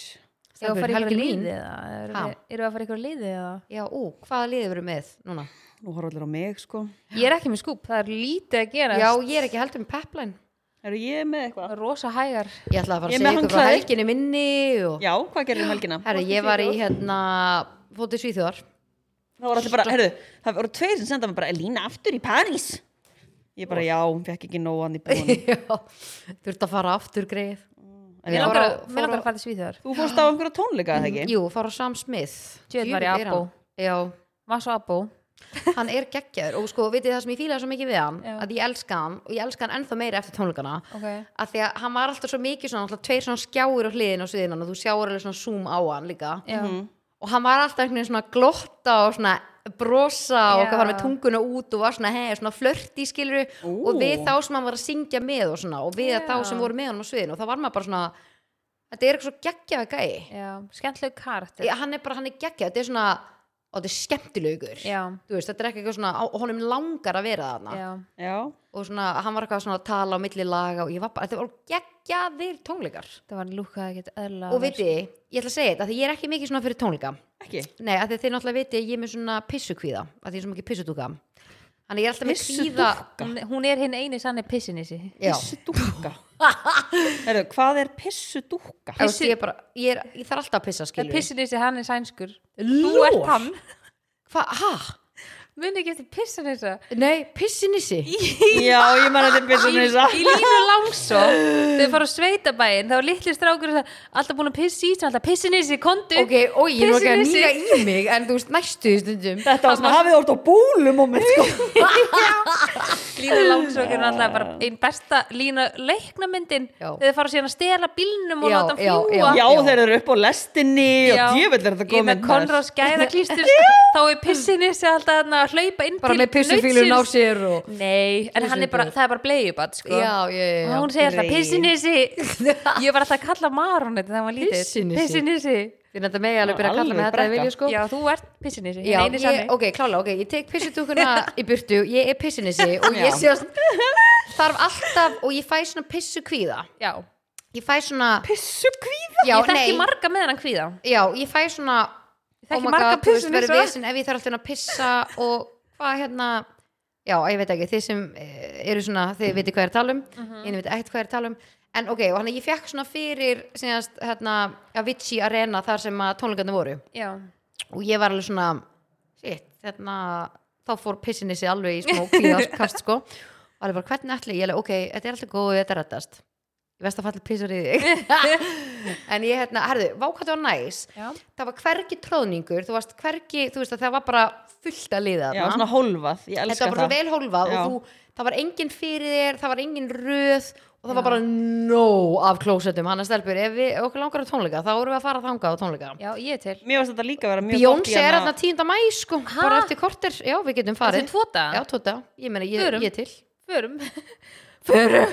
A: Ég að
C: Stelpur,
A: fara ykkur
C: Helgi
A: í
C: mín.
A: liðið eða Eru
C: Ha?
A: við- eru við að fara ykkur í liðið eða
C: Já, ú, hvaða liðið veru með núna?
B: Nú horfðu allir á mig sko
A: Ég er ekki með skúp, það er lítið að gera
C: Já, ég er ekki heldur með pepline
B: Eru ég með eitthvað?
A: Rosa hægar
C: Ég ætla að fara
B: Ég
C: að
B: er
C: segja
B: með
C: ykkur frá
B: handklæði.
C: helginni minni og...
B: Já, hvað gerir um helgina?
C: Herri, ég var í hérna Fótið Svíþjóðar
B: Það voru allir bara, herru, það voru tveir sem senda mig bara Elína aftur í París Ég bara, já, hún fekk ekki nóan í búinu
C: Já, þurfti að fara aftur greið
A: Mér
C: já.
A: langar
C: Fór á-
A: að- mig
C: fór
A: langar
C: á-
A: að fara til Svíþjóðar
B: Þú fórst á einhverja tónleika, eða ekki?
C: Mm, Jú, fara á Sam Smith
A: Djöfull var
C: Djöfull
A: ég
C: er
A: abbo.
C: hann- Já,
A: Var svo abó
C: hann er geggjaður og sko, vitið það sem ég fílaði svo mikið við hann
A: Já.
C: að ég elska hann og ég elska hann ennþá meira eftir tónleikana
A: okay.
C: að því að hann var alltaf svo mikið svona, alltaf tveir svona skjáir á hliðin og sviðin og þú sjáur alveg svona zoom á hann líka
A: Já,
B: Mhm.
C: og hann var alltaf einhvern veginn svona að glotta og svona brosa og
A: Já.
C: hvað var með tunguna út og var svona, hei, svona flörti skilur
B: Ú.
C: og við þá sem hann var að syngja með og svona og við
A: Já.
C: þá sem voru með hann á sviðinu og þá var maður bara svona þetta er eitthvað svo geggjaða gæi
A: já, skemmtileg karakter
C: Ég- hann er bara, hann er geggjað, þetta er svona og þetta er skemmtilegur
A: Já,
C: Þú veist, þetta er ekki eitthvað svona, á- og honum langar að vera þarna
A: já,
B: Já,
C: og svona, hann var eitthvað svona að tala á milli laga og ég var bara, þetta voru geggjaðir tónleikar
A: það var lúkað ekkert eðla
C: og viti, ég ætla að segja þetta, því ég er ekki mikið svona fyrir tónleika
B: ekki
C: Nei, af því að þið náttúrulega viti að ég er með svona pissukvíða af því ég er svo mikið pissutúka Þannig ég er alltaf með kvíða
A: hún, hún er hinn eini sanni pissinissi
C: Já,
B: Pissudúkka Herru, hvað er pissudúkka?
C: þú veist, ég, er bara, ég, er, ég þarf alltaf að pissa skilur
A: pissinissi hann er sænskur þú
C: Ljór.
A: ert hann
C: Hva, ha?
A: muni ekki eftir pissinissa
C: Nei, pissinissi
B: Já, ég man að þetta er pissunissa
A: í línu langsó þau fara á sveitabæin þá er litli strákur það- alltaf búin að pissa í sig alltaf pissinissi kondu
C: Ok, og ég er nú ekki að
A: Pissinisi.
C: nýja í mig en þú veist, næstu stundum
B: Þetta var svona, hafið orðið á búlum og með sko
A: línu langsó er alltaf bara einn besta lína leiknamyndin
C: Já.
A: þau fara síðan að stela bílnum og
C: Já,
A: láta hann
C: já,
A: fljúa
C: já.
B: Já, þeir eru upp á lestinni og djöfell er
A: Ég
B: þetta
A: er
B: góð
A: með
B: mynd maður.
A: Konráðs gæðaklýstur þá er pissinissi alltaf þarna að hlaupa inn
C: Bara
A: til
C: með pissufílun á
A: nautsins.
C: sér og
A: Nei, en hann er bara, það er bara bleiðjubat sko.
C: Já, já, já, já.
A: Og hún segir alltaf
B: Grey.
A: pissinissi Ég var alltaf að kalla Maron þetta þegar hann var lítill
C: Pissinisi.
A: Pissinisi
C: Þið nættu megi alveg
B: Já,
C: byrja að kalla
B: alveg
C: með þetta ef
B: brekka.
C: vilja sko
A: Já, þú ert pissinissi
C: Já,
A: ég,
C: ég, ok, klálega, ok, ég tek pissutúkuna í burtu, ég er pissinissi og ég sé að þarf alltaf og ég fæ svona pissu kvíða
A: já.
C: ég fæ svona
B: Pissu kvíða
C: já,
A: ég þekki
C: nei,
A: marga með hann kvíða
C: já, ég fæ svona oh
A: Ég þekki
C: my
A: marga
C: þú veist,
A: pissinissa.
C: verður vesen ef ég þarf alltaf að pissa og hvað hérna já, ég veit ekki, þið sem eh, eru svona þið veitir hvað ég er að tala um
A: Mhm.
C: ég veit ekkert hvað ég er að tala um en ok, og hann ég fekk svona fyrir síðast, hérna, Avicii Arena þar sem að tónleikarnir voru
A: Já,
C: og ég var alveg svona shit, þarna, þá fór pissinni sig alveg í smó kvíðarkast sko og alveg bara hvernig ætli, ég alveg ok, þetta er alltaf góð, þetta er rettast ég veist að falla písur í þig en ég hérna, herðu, vákvæmt var næs
A: Já.
C: það var hvergi tróðningur þú varst hvergi, þú veist að það var bara fullt að liða
B: Já, svona hólfað, ég
C: þetta
B: elska
C: var bara svo
B: það
C: vel
B: Já.
C: hólfað og þú, það var engin fyrir þér, það var engin röð og það var bara nóg af klósettum hann að stelpur, ef við okkur langar á tónleika þá erum við að fara þangað á tónleika
A: Já, ég er til
B: Mér varst þetta líka að vera mjög gott í
C: Bjónsi er
B: hana-
C: hérna 10. mæ sko, bara eftir kortir, já við getum
A: Þetta er
C: farið
A: tvota
C: Já, tóta, ég meina ég,
A: Förum.
C: ég er til
A: Förum
C: Förum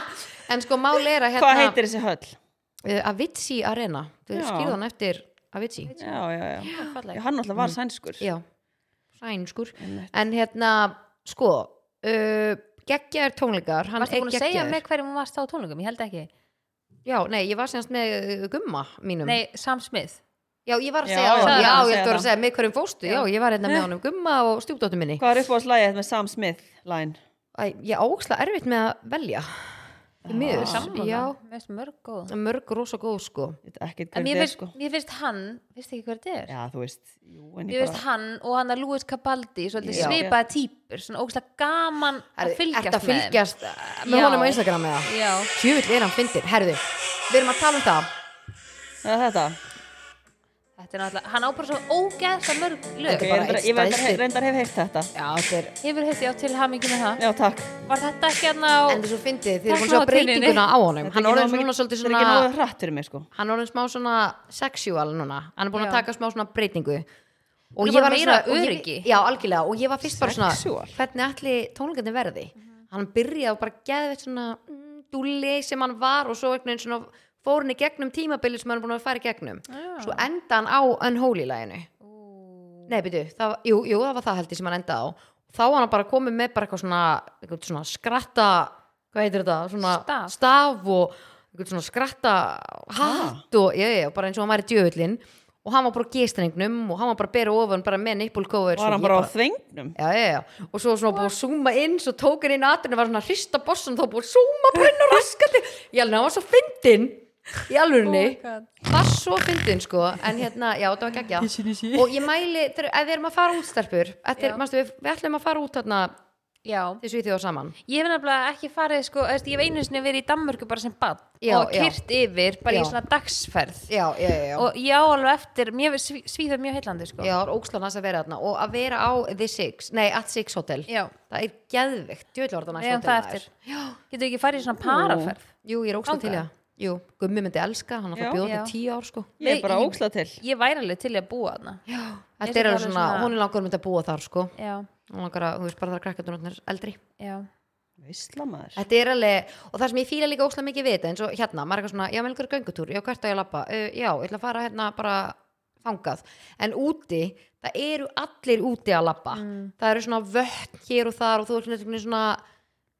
C: En sko mál er að
B: Hvað
C: hérna
B: heitir þessi höll?
C: eh, Avicii Arena, þau
B: Já.
C: skýrðu hann eftir Avicii
B: Já, já, já
A: Fallegt.
B: Já, Hann alltaf var sænskur
C: Mm. Já, sænskur En hérna, sko uh, geggjaðir tónleikar hann
A: Varstu
C: er
A: búin að segja
C: geggjaður.
A: með hverjum hún varst á tónlingum? Ég held ekki
C: Já, nei, ég var semst með uh, gumma mínum
A: Nei, Sam Smith
C: Já, ég var að
B: Já,
C: segja
B: já, já,
C: já,
B: já,
C: já, ég
B: segja
C: ætti að vera
B: það.
C: að segja með hverjum fóstu Já, ég var hérna með honum gumma og stjúpdóttu minni
B: Hvað er upp á slæðið með Sam Smith line?
C: Æ, Ég áksla erfitt með að velja Í miður,
A: Sammála.
C: já
A: Mér finnst mörg góð
C: Mörg rosa góð sko
B: Ég veit ekkert
A: En
B: hver
A: mér
B: þetta er
A: finnst,
B: sko
A: mér finnst hann, finnst ekki hver þetta er
B: Já, þú veist Jú, en
A: Mér
B: ég
A: finnst
B: bara
A: hann og hann að Louis Cabaldi svolítið
C: Já.
A: svipaði típur, svona ógslag gaman að
C: Herðu,
A: fylgjast
C: ertu að
A: með þeim.
C: fylgjast uh, með
A: Já.
C: honum á Instagram eða?
A: Já,
C: Tjúvill er hann fyndir, herðu Við erum að tala um það
B: Það er þetta
A: þetta er náttúrulega, hann á bara svo ógeðsa mörg lög
C: Þetta
B: Ég
C: bara
B: reyndar-
C: eitt
B: Ég reyndar-
C: stærsti-
B: reyndar hef heilt þetta
C: Já, þetta er
A: Hefur heitt ég á til hamingi með það
B: Já, takk
A: Var þetta ekki hann á
C: En þessu fyndið, þið erum búin að
A: Takk
C: sjá
A: fyrir tíðinni.
C: breytinguna á honum
B: Þetta
C: Hann
B: er
C: er
B: ekki
C: orðin
B: nógu
C: núna
B: mikið- Þetta
C: svolítið
B: er
C: svona
B: ekki náðu hratt fyrir mig sko
C: Hann er orðin smá svona sexual núna Hann er búin
A: Já.
C: að taka smá svona breytingu
A: Hann er
C: Og ég
A: bara
C: var
A: meira
C: svona- og ég-
A: öryggi.
C: Já, algjörlega, og ég var fyrst bara svona
B: Sexual.
C: Hvernig ætli tónleikandi verði
A: Mhm.
C: Hann byrjaði og bara geðveitt svona mm, Dúli sem hann var og svo einhvern veginn svona Fór hann í gegnum tímabili sem hann er búin að fara í gegnum
A: Já.
C: Svo enda hann á Unholy læginu Nei, byrju, það, var- jú, jú, það var það held ég sem hann endaði á Þá var hann bara komið með bara eitthvað svona, eitthvað svona skratta Hvað heitir þetta? Svona
A: Staf.
C: og eitthvað svona skratta
B: Ah.
C: hatt og, já, já, bara eins og hann væri djöfullinn og hann var bara á gestrengnum og hann var bara að bera ofan bara með nippulkóður
B: Var hann bara á þvengnum
C: Já, já, já, og svo svona búið að zooma inn svo tók hann inn aðrinu, var svona að hrista bossan þá búið að zooma bara inn og raskandi Ég alveg, hann var svo fyndinn í alvörunni var svo fyndin sko en hérna, já þetta var geggja og ég mæli, þegar ef við erum að fara út stelpur eftir,
A: Já.
C: manstu, við, við ætlum að fara út þarna
A: Já,
C: til Svíþjóð saman
A: ég hef nefnilega ekki farið sko, þú veist, ég hef einu sinni verið í Danmörku bara sem bad
C: Já,
A: og
C: já.
A: kyrt yfir bara
C: Já.
A: í svona dagsferð
C: já, já, já, já.
A: og ég á alveg eftir, mér finnst Sví- svíþjóð mjög heillandi sko.
C: já, ókslan hans að vera þarna og að vera á The Six, nei, At Six Hotel
A: Já.
C: það er geðvikt, djöðlega orðan
A: Eigum það eftir. Getur ekki farið í svona paraferð
C: jú, ég er ókslan til í
A: Þangað.
C: það Jú, gummi myndi elska, hann að
B: Já.
C: fara bjóð
A: Já.
C: til tíu ár sko
B: Ég er bara
A: Nei, ég-
B: óksla til
A: Ég væri alveg til í að búa þarna
C: Já,
A: Ég
C: þetta
A: sé
C: er alveg
A: alveg
C: svona,
A: svona-
C: hún er langar myndi að búa þar sko
A: Já,
C: hún langar að, hún veist bara þar krakkaturnarnir eldri
A: já
B: Veistla maður
C: Þetta er alveg, og það sem ég fíla líka óslega mikið við þetta, eins og hérna, maður er eitthvað svona, já, með einhverju göngutúr, já, hvert á ég að lappa, uh, já, ég ætla að fara hérna bara þangað, en úti, það eru allir úti að lappa,
A: Mm.
C: það eru svona vötn hér og þar og þú er svona, svona, svona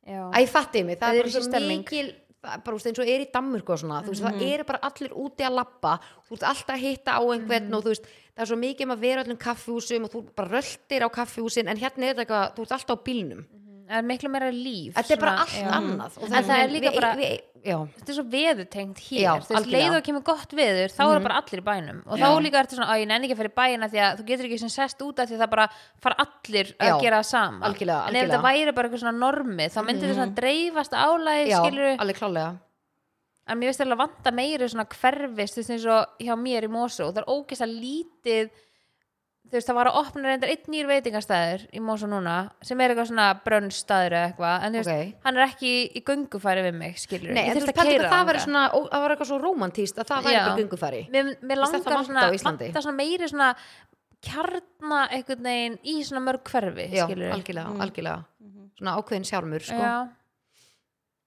A: Já.
C: æ, fatti mig, það,
A: Það er bara
C: er bara
A: þessi
C: svo
A: stemning. Mhm.
C: mikil, það er bara, þú veist, eins og er í Danmurku og svona, þú veist, það eru bara allir úti að lappa, þú ert alltaf að hitta á einhvern
A: Mhm.
C: og þú veist, það er svo mikið um að vera á öllum kaffihúsum og þú bara röltir á kaffihúsin, en hérna er þetta eitthvað, þú ert alltaf á bílnum.
A: Það er miklu meira líf
C: Þetta er bara
A: svona,
C: allt
A: já.
C: annað og
A: En það er líka
C: við-
A: bara,
C: við, Já,
A: þetta er svo veðutengt hér
C: Já,
A: Þú veist,
C: algjörlega. Mhm.
A: leið og kemur gott veður, þá eru bara allir í bænum Og þá líka ertu svona, að ég nenni ekki að fara í bæina Því að þú getur ekki sem sest út af því að það bara fara allir að
C: Já,
A: gera það sama En
C: algjörlega,
A: ef
C: algjörlega. Mhm.
A: þetta væri bara eitthvað svona normi Þá myndi þetta svona dreifast álæð
C: já
A: skilur
C: alveg klálega
A: En mér veist alveg að vanta meiri svona hverfis Þú veist eins og hjá mér í Mosó Það er ógist að lítið Þú veist, það var að opna reyndar einn nýr veitingastæður í Mosó núna, sem er eitthvað svona brönnstæður eða eitthvað, en þú veist,
C: Ok.
A: hann er ekki í göngufæri við mig, skilur
C: Nei,
A: ég
C: en þú
A: þyrfti
C: veist,
A: að
C: pældu
A: keyra
C: hvað það væri
A: þangað.
C: svona, ó, það var eitthvað svo romantíst að það væri
A: Já.
C: ekki gungufæri
A: mér, mér
C: Veist, það
A: langar
C: vantar
A: svona,
C: á Íslandi.
A: vantar svona meiri svona kjarna einhvern veginn í svona mörg hverfi
C: Já,
A: skilur
C: algjörlega, algjörlega Svona ákveðin sjármur,
A: Mm.
C: sko
A: Mhm.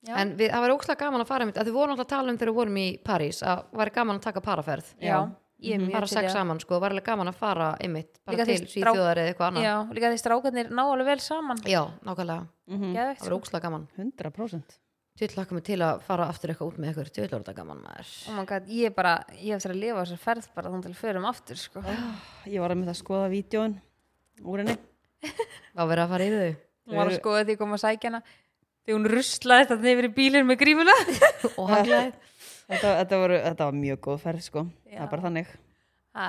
A: já, Já.
C: En við, það væri ókslega gaman að fara mitt að þið voru alltaf að tala um þegar við vorum í París að væri gaman að taka paraferð
A: já, Mm, ég er
C: bara
A: mjög
C: sex saman, sko, væri alveg gaman að fara einmitt, bara
A: Líka
C: til
A: því strák-
C: Svíþjóðar eða eitthvað annað
A: já, líka því strákarnir ná alveg vel saman
C: Já, nákvæmlega,
A: mm.
C: það væri ókslega gaman
B: 100%
C: Tvill lakka mig til að fara aftur eitthvað út með ykkur Tvill var þetta gaman maður
A: oh my god, ég er bara, ég hef þér að lifa á þessar ferð bara þannig til að förum aftur sko.
C: Ah.
B: Ég var að mynda að skoða vídjóin úr henni
C: Var verið að fara í þau
A: hún var að skoða því að koma að sækja hana því hún ruslaði þetta yfir í bílinn með grímuna
C: og haglaði
B: Þetta, þetta, voru, þetta var mjög góð ferð sko Það er bara þannig
A: Ha,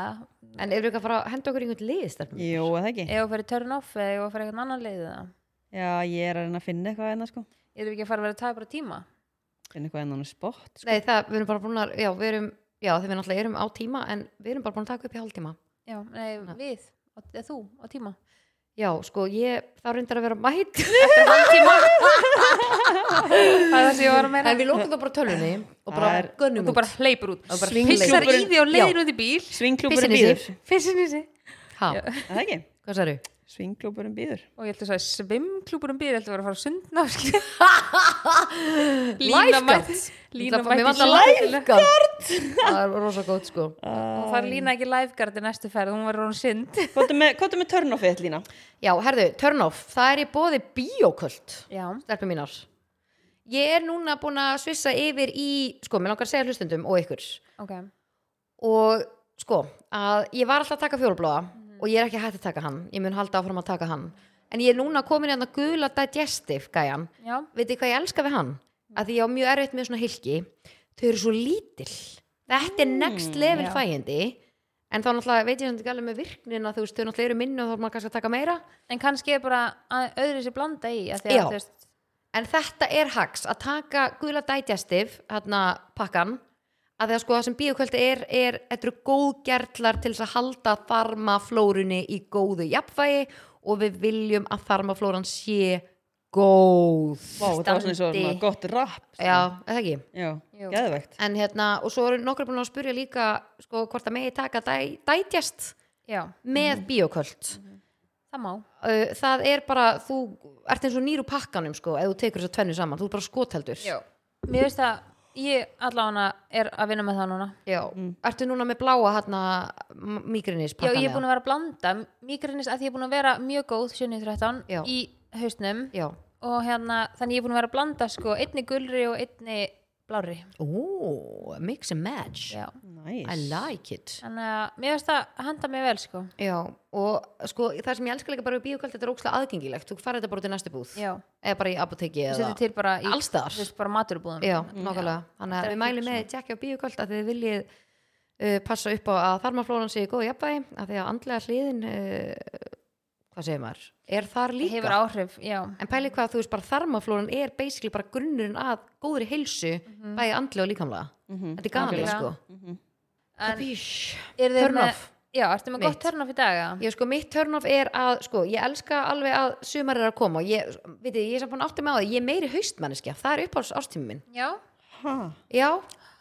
C: En eru við ekki að fara að henda okkur í einhvern liðstarfum?
B: Jú, eða ekki
A: ef hún fyrir turn off eða ef hún fyrir eitthvað annan leið eða
B: Já, ég er að reyna að finna eitthvað hérna sko
A: erum við ekki að fara að vera að taka bara tíma
B: en eitthvað enn hann spott sko.
C: Nei, það, við erum bara búin að, já, við erum, já, þegar við náttúrulega erum á tíma, en við erum bara búin að taka upp í hálftíma.
A: já, nei, við, og, eða þú á tíma
C: Já, sko, ég, þá reyndar að vera mætt eftir hálftíma,
A: það er það sem ég var að meina
C: en við lókum þá bara tölunni og bara
B: Það er-
A: og
C: gönnum
A: þú
C: út.
A: bara hleypur út
C: Og bara
A: pissar í
B: Svingklúpurinn-
A: því og leiðir
C: Já.
A: út í bíl
B: svingklúburinn
C: Pissin í
B: býður
A: fissin í sig
C: Ha,
B: Er það um ekki? um
C: hvað særu?
B: svingklúburinn býður
A: og ég ætla að segja svimklúpur um bíl ég ætla að vera að fara að sundna skilur. Lína
C: Lifeguards.
A: mætti- Lína
C: Það- mér
A: mætti
C: vantar Lifeguard! Það er rosa góð, sko.
A: og það er Lína ekki lifeguard í næstu ferð hún verður hún synd
B: hvað er með, hvað er með törnoffið Lína?
C: Já, herðu, turn off, það er í bóði bíoköld,
A: já,
C: stelpum mínar. Ég er núna búin að svissa yfir í, sko, mér langar að segja hlustundum og ykkur.
A: ok
C: og sko að ég var alltaf að taka fjólblóða og ég er ekki hægt að taka hann, ég mun halda áfram að taka hann en ég er núna komin í að gula digestive gæjan,
A: já,
C: veitir hvað ég elska við hann að því ég á mjög erfitt með svona hilki þau eru svo lítil þetta er next level
A: já.
C: fægindi en þá náttúrulega veit ég samt ekki alveg með virknina þú veist, þau náttúrulega eru minni og þá er maður kannski að taka meira
A: en kannski er bara að- öðru sér blanda í að því
C: Já.
A: að þú veist
C: en þetta er hacks að taka gula digestive hérna pakkan að því að sko það sem bíokvöldi er, er þetta eru góðgerðlar til þess að halda þarmaflórunni í góðu jafnvægi og við viljum að þarmaflóran sé góð
B: Vá, það var svona eins og
C: Standi.
B: svona gott rap sko.
C: já, eða ekki
B: já,
A: Jú.
B: geðvegt
C: en hérna, og svo eru nokkur búin að spyrja líka sko hvort að megi taka di- digest
A: já,
C: með mm. bíokvöld
A: það má
C: það er bara, þú ert eins og nýr úr pakkanum sko, ef þú tekur þess að tvennu saman þú er bara skoteldur
A: já. mér veist að ég allavega er að vinna með það núna
C: Já, ertu núna með bláa hérna migrinis
A: Mm. já, ég er búin að vera að blanda migrinis að því ég er búin að vera mjög góð 713
C: Já.
A: í hausnum
C: Já,
A: og hérna, þannig ég er búin að vera að blanda sko, einni gulri og einni blári
C: ó, mix and match
A: já.
C: I
B: nice.
C: like it
A: þannig að mér veist að handa mig vel sko.
C: Já, og sko það sem ég elska líka bara við bíókvöld, þetta er ókslega aðgengilegt þú farið þetta bara út í næstu búð
A: já,
C: eða bara í apoteki
A: ég
C: eða
A: seti til bara í
C: Alls staðar.
A: þú veist, bara maturbúðum
C: Já, nákvæmlega,
A: Þetta er
C: þannig að við
A: ekki
C: mælum með tjekkja á bíókvöld að þið viljið uh, passa upp á að þarmaflóran sé í góðu jafnvægi að því að andlega hliðin uh, hvað segir maður, er þar líka
A: hefur áhrif, já,
C: En pælið hvað þú veist bara þarmaflóran er basically bara grunnurinn að góðri heilsu bæði andlega og líkamlega.
B: Mhm.
C: Þetta er galið
A: Algjörlega. Mhm.
C: sko.
A: En-
C: Bísh.
A: Er þið
C: Turn
A: með-
C: off.
A: já, ertu með gott
C: Mitt.
A: törnaf í dag eða?
C: Ég sko mitt turn off er að sko ég elska alveg að sumar er að koma og ég, veit ég, ég er samt búin aftur með á það, ég er meiri haustmanneskja, það er uppáhalds ástími minn.
A: já,
B: Ha,
C: Já,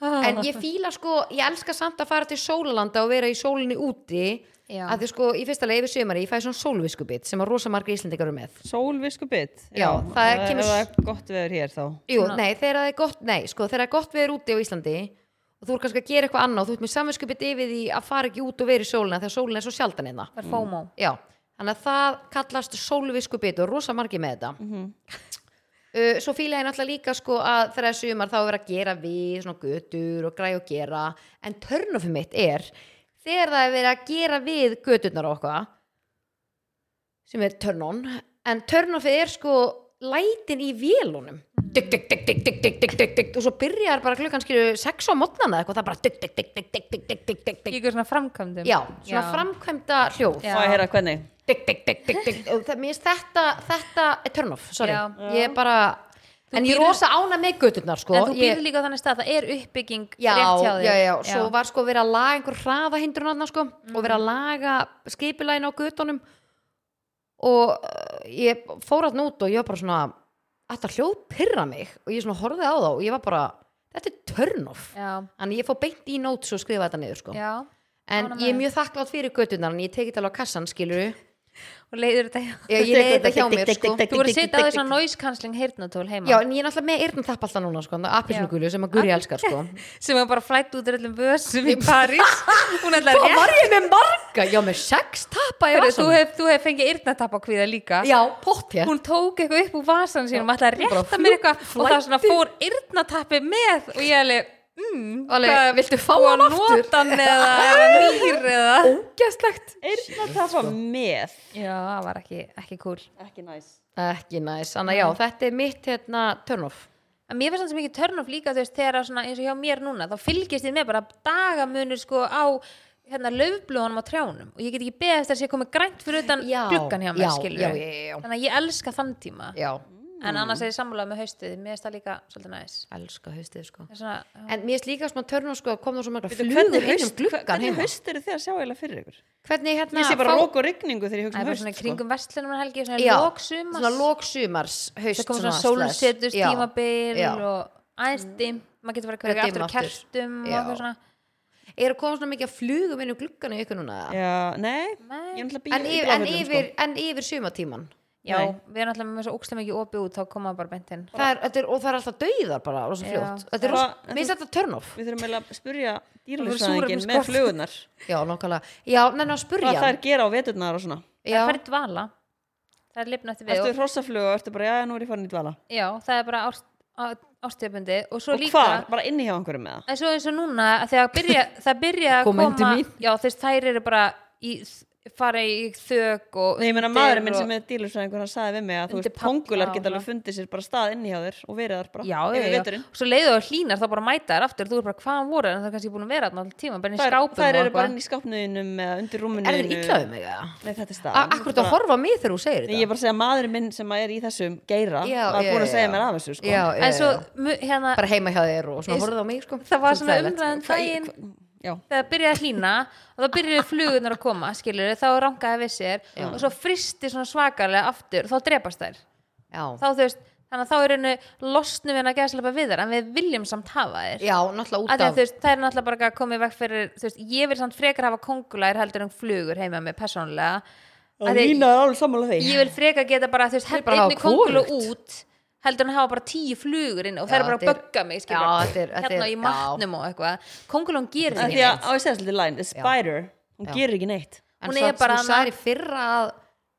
A: Ah.
C: en ég fíla sko, ég elska samt að fara til sólalanda og vera í sólinni úti
A: Já.
C: að því sko í fyrsta leið yfir sumari ég fæ svona sólviskubit sem að rosa margir íslendingar eru með.
B: sólvisku bit
C: Já, það er- kemur-
B: ef það er gott veður hér þá
C: Jú, nei, þegar það er gott, nei, sko, þegar það er gott veður úti á Íslandi og þú er kannski að gera eitthvað annað og þú ert með samvinskupið yfir því að fara ekki út og vera í sólina þegar sólina er svo sjaldan einna.
A: það er FOMO
C: Já, þannig að það kallast sólviskupið og rosa margir með þetta.
B: Mhm.
C: uh, svo fíla ég náttúrulega líka sko að þegar það er sumar þá er verið að gera við svona götur og græja og gera en törnofið mitt er þegar það er verið að gera við göturnar og okkar sem er törnón en törnofið er sko lætin í vélunum dygg, dygg, dygg, dygg, dygg, dygg, dygg, dygg, dygg og svo byrjar bara klukkan skilju 6 á mótnana eitthvað það er bara dygg, dygg, dygg, dygg, dygg, dygg, dygg, dygg, dygg, dygg
A: ég er svona framkvæmdum
C: já, svona framkvæmda hljóð
A: Já.
B: Má ég heyra hvernig?
C: dygg, dygg, dygg, dygg, dygg og það, mér finnst þetta, þetta er turn-off, sorry
A: Já.
C: ég er bara, en ég er
A: býrð-
C: rosa ána með göturnar sko
A: en þú
C: Ég-
A: býrðu líka á þannig stað, það er uppbygging
C: já,
A: rétt hjá þér
C: já, já, svo var sko verið að laga einhver hraða hindrunarna sko og verið að laga skipulægin á götunum og uh, ég fór hann út og ég var bara svona þetta hljóð pyrra mig og ég svona horfið á þá og ég var bara, þetta er turn-off
A: já,
C: þannig ég fór beint í notes og skrifa þetta niður sko
A: já.
C: en
A: ánægð með
C: ég er
A: þig.
C: mjög þakklátt fyrir göturnar en ég tekið alveg á kassan skilur
A: og leiður þetta hjá
C: ég, ég leiði þetta hjá mér sko
A: þú voru að setja á því svona noise cancelling heyrnatól heima
B: Hérna.
C: Já, en ég er náttúrulega með eyrnatapp alltaf núna, sko, appilsnugulu sem að Guri elskar, sko.
A: sem var bara flætt út úr öllum vössum í París hún ætlaði
C: Hvað
A: rétt
C: var ég með marga? Já, með sex tappa í
A: Heyrðu, þú
C: vasanum.
A: hef, þú hef fengið yrnatapp á kvíða líka
C: Já, pottja.
A: hún tók eitthvað upp úr vasan sínum ætlaði að
C: bara
A: rétta mér eitthvað og það
C: flæddi.
A: svona fór yrnatappi með og ég alveg mm,
C: Alveg,
A: hvað-
C: viltu fá
A: og
C: hann aftur?
A: nota hann eða eða nýr eða
C: Ógæstlegt.
B: Eirna tappa með
A: já, það var ekki, ekki cool
B: Ekki næs
C: Ekki næs, þannig að já, þetta er mitt, hérna, turn-off.
A: En mér finnst það sem ekki törnum líka þú veist þegar að svona, eins og hjá mér núna þá fylgist ég með bara dagamunur sko á hérna löfblóðanum á trjánum og ég get ekki beðast þess að ég komi grænt fyrir utan
C: Já,
A: gluggan hjá mér
C: já,
A: skilur
C: já, já, já, já.
A: þannig að ég elska þann tíma
B: Mm.
C: Já.
A: en annars er ég sammálaði með haustið mér finnst það líka svolítið næs
C: elska haustið sko
A: Það er svona,
C: en mér er líka svona törnum sko að koma svo marga
B: Veitu,
C: flugur
B: hvernig
C: inn um
B: haust-
C: gluggan
B: hvernig
A: hérna?
C: heima
B: haust eru þið að sjá eiginlega fyrir ykkur
C: hvernig hérna
B: ég sé bara rók og rigningu þegar ég
A: Ah, það er bara
B: hugsa um haust
A: svona í
B: sko.
A: kringum verslunum en helgi, svona
C: já,
A: lóksumars
C: svona lóksumars haust
A: það kom svona
C: slash.
A: sólsetust
C: Já.
A: tímabil
C: Já.
A: og aðeins dimm maður getur verið að
C: Það
A: kveika aftur
C: dimma
A: á
C: aftur.
A: kertum og
C: Já.
A: eitthvað svona
C: er að koma svona mikið að flugum inn um gluggan í ykkur núna
B: Já, nei,
A: Nei.
B: ég er náttúrulega býð
C: en, yfir, en,
B: sko.
C: yfir, en yfir sumatíman
A: já,
B: Nei.
A: við erum alltaf með svo ókslega mikið opið út þá koma bara beint inn
C: það er, þetta er, og það er alltaf dauðar bara og svo
A: Já.
C: fljótt þetta
B: Það-
C: er rosa- mér finnst þetta turn off
B: Við þurfum eiginlega að spurja
A: verður
B: dýrlýsfræðingin með
A: súrefnisskort.
B: flugunar
C: já, nákvæmlega, já, neina að spurja
B: Hvað það er gera á veturnar og svona
A: það
C: já,
A: fer í dvala það er lifnað eftir við
B: Ertu
A: og,
B: hrossaflug og ertu bara, já, nú er ég farin í dvala
A: já, það er bara ástöðbundi og svo
B: Og
A: líka
B: hvar? Bara inni hjá einhverjum með það
A: en svo eins og núna að þegar byrja, það byrja að
C: Koma
A: koma
C: inn til mín.
A: já, þess þær eru bara í, fara í þök og
B: Nei, ég meina
A: undir
B: maðurinn minn
A: og-
B: sem er dýrlýsfræðingur hann sagði við mig að þú
A: Undir
B: veist,
A: palla
B: kongular
A: og
B: geta alveg
A: svona.
B: fundið sér bara stað inni hjá þér og verið þar bara
A: já, já,
B: yfir
A: já.
B: veturinn
A: svo leiðu og hlínar þá bara mæta þær aftur þú er bara hvaðan voru þær?" en það er kannski búin að vera þarna allan tíma bara inn í
B: Þær,
A: skápum og
B: þær eru
A: eitthvað.
B: bara inn í skápnuðinum eða undir rúmunu
C: er þetta illa um mig eða?
B: Nei, þetta er
C: A-
B: staðan.
C: akkur þetta að
B: Bara-
C: horfa á mig þegar þú
B: Nei, ég
C: segir
B: er
C: þetta
B: bara að segja að maðurinn minn sem er í þessum geira
C: Já,
B: var
C: já,
B: búin að
C: já,
B: segja
C: já.
B: mér af þessu sko.
C: já, já,
A: en svo
C: já.
A: mu- hérna,
C: bara heima hjá þér og svona
A: Ég-
C: horfið á mig sko
A: það var
C: Svolítið
A: svona
C: hræðilegt.
A: umræðan daginn
B: Já.
A: þegar byrjaði að hlína og þá byrjuðu flugurnar að koma skilur þá rangaði við sér og svo fristi svona svakalega aftur og þá drepast þær
C: já,
A: þá þú veist, þannig að þá er einu losnum við að geða sleppa við þær en við viljum samt hafa þær
C: já, náttúrulega
A: Af
C: út
A: því að
C: af
A: þú veist, það er náttúrulega bara að koma í vekk fyrir þú veist, ég vil samt frekar hafa kongulæðir heldur en flugur heima með persónulega Af
B: Og
A: því að
B: Lína er alveg sammála því
A: ég vil frekar geta bara þú veist,
C: Ég vil
A: held
C: bara hafa
A: einni kongulu
C: hvorugt.
A: út heldur en að hafa bara tíu flugur inn og
C: Já,
A: það er bara að
C: þetta er-
A: bögga mig skilur,
C: Já,
A: bara,
C: þetta er- þetta
A: hérna
C: er-
A: í
C: já.
A: matnum og eitthvað kongulun gerir
B: Af
A: ekki
B: Því að
A: neitt
B: á ég segja svolítið line, the spider Hún
C: Já.
B: gerir ekki neitt
C: en
A: hún
C: svo
A: er bara
C: þú
A: annað-
C: sagði fyrra að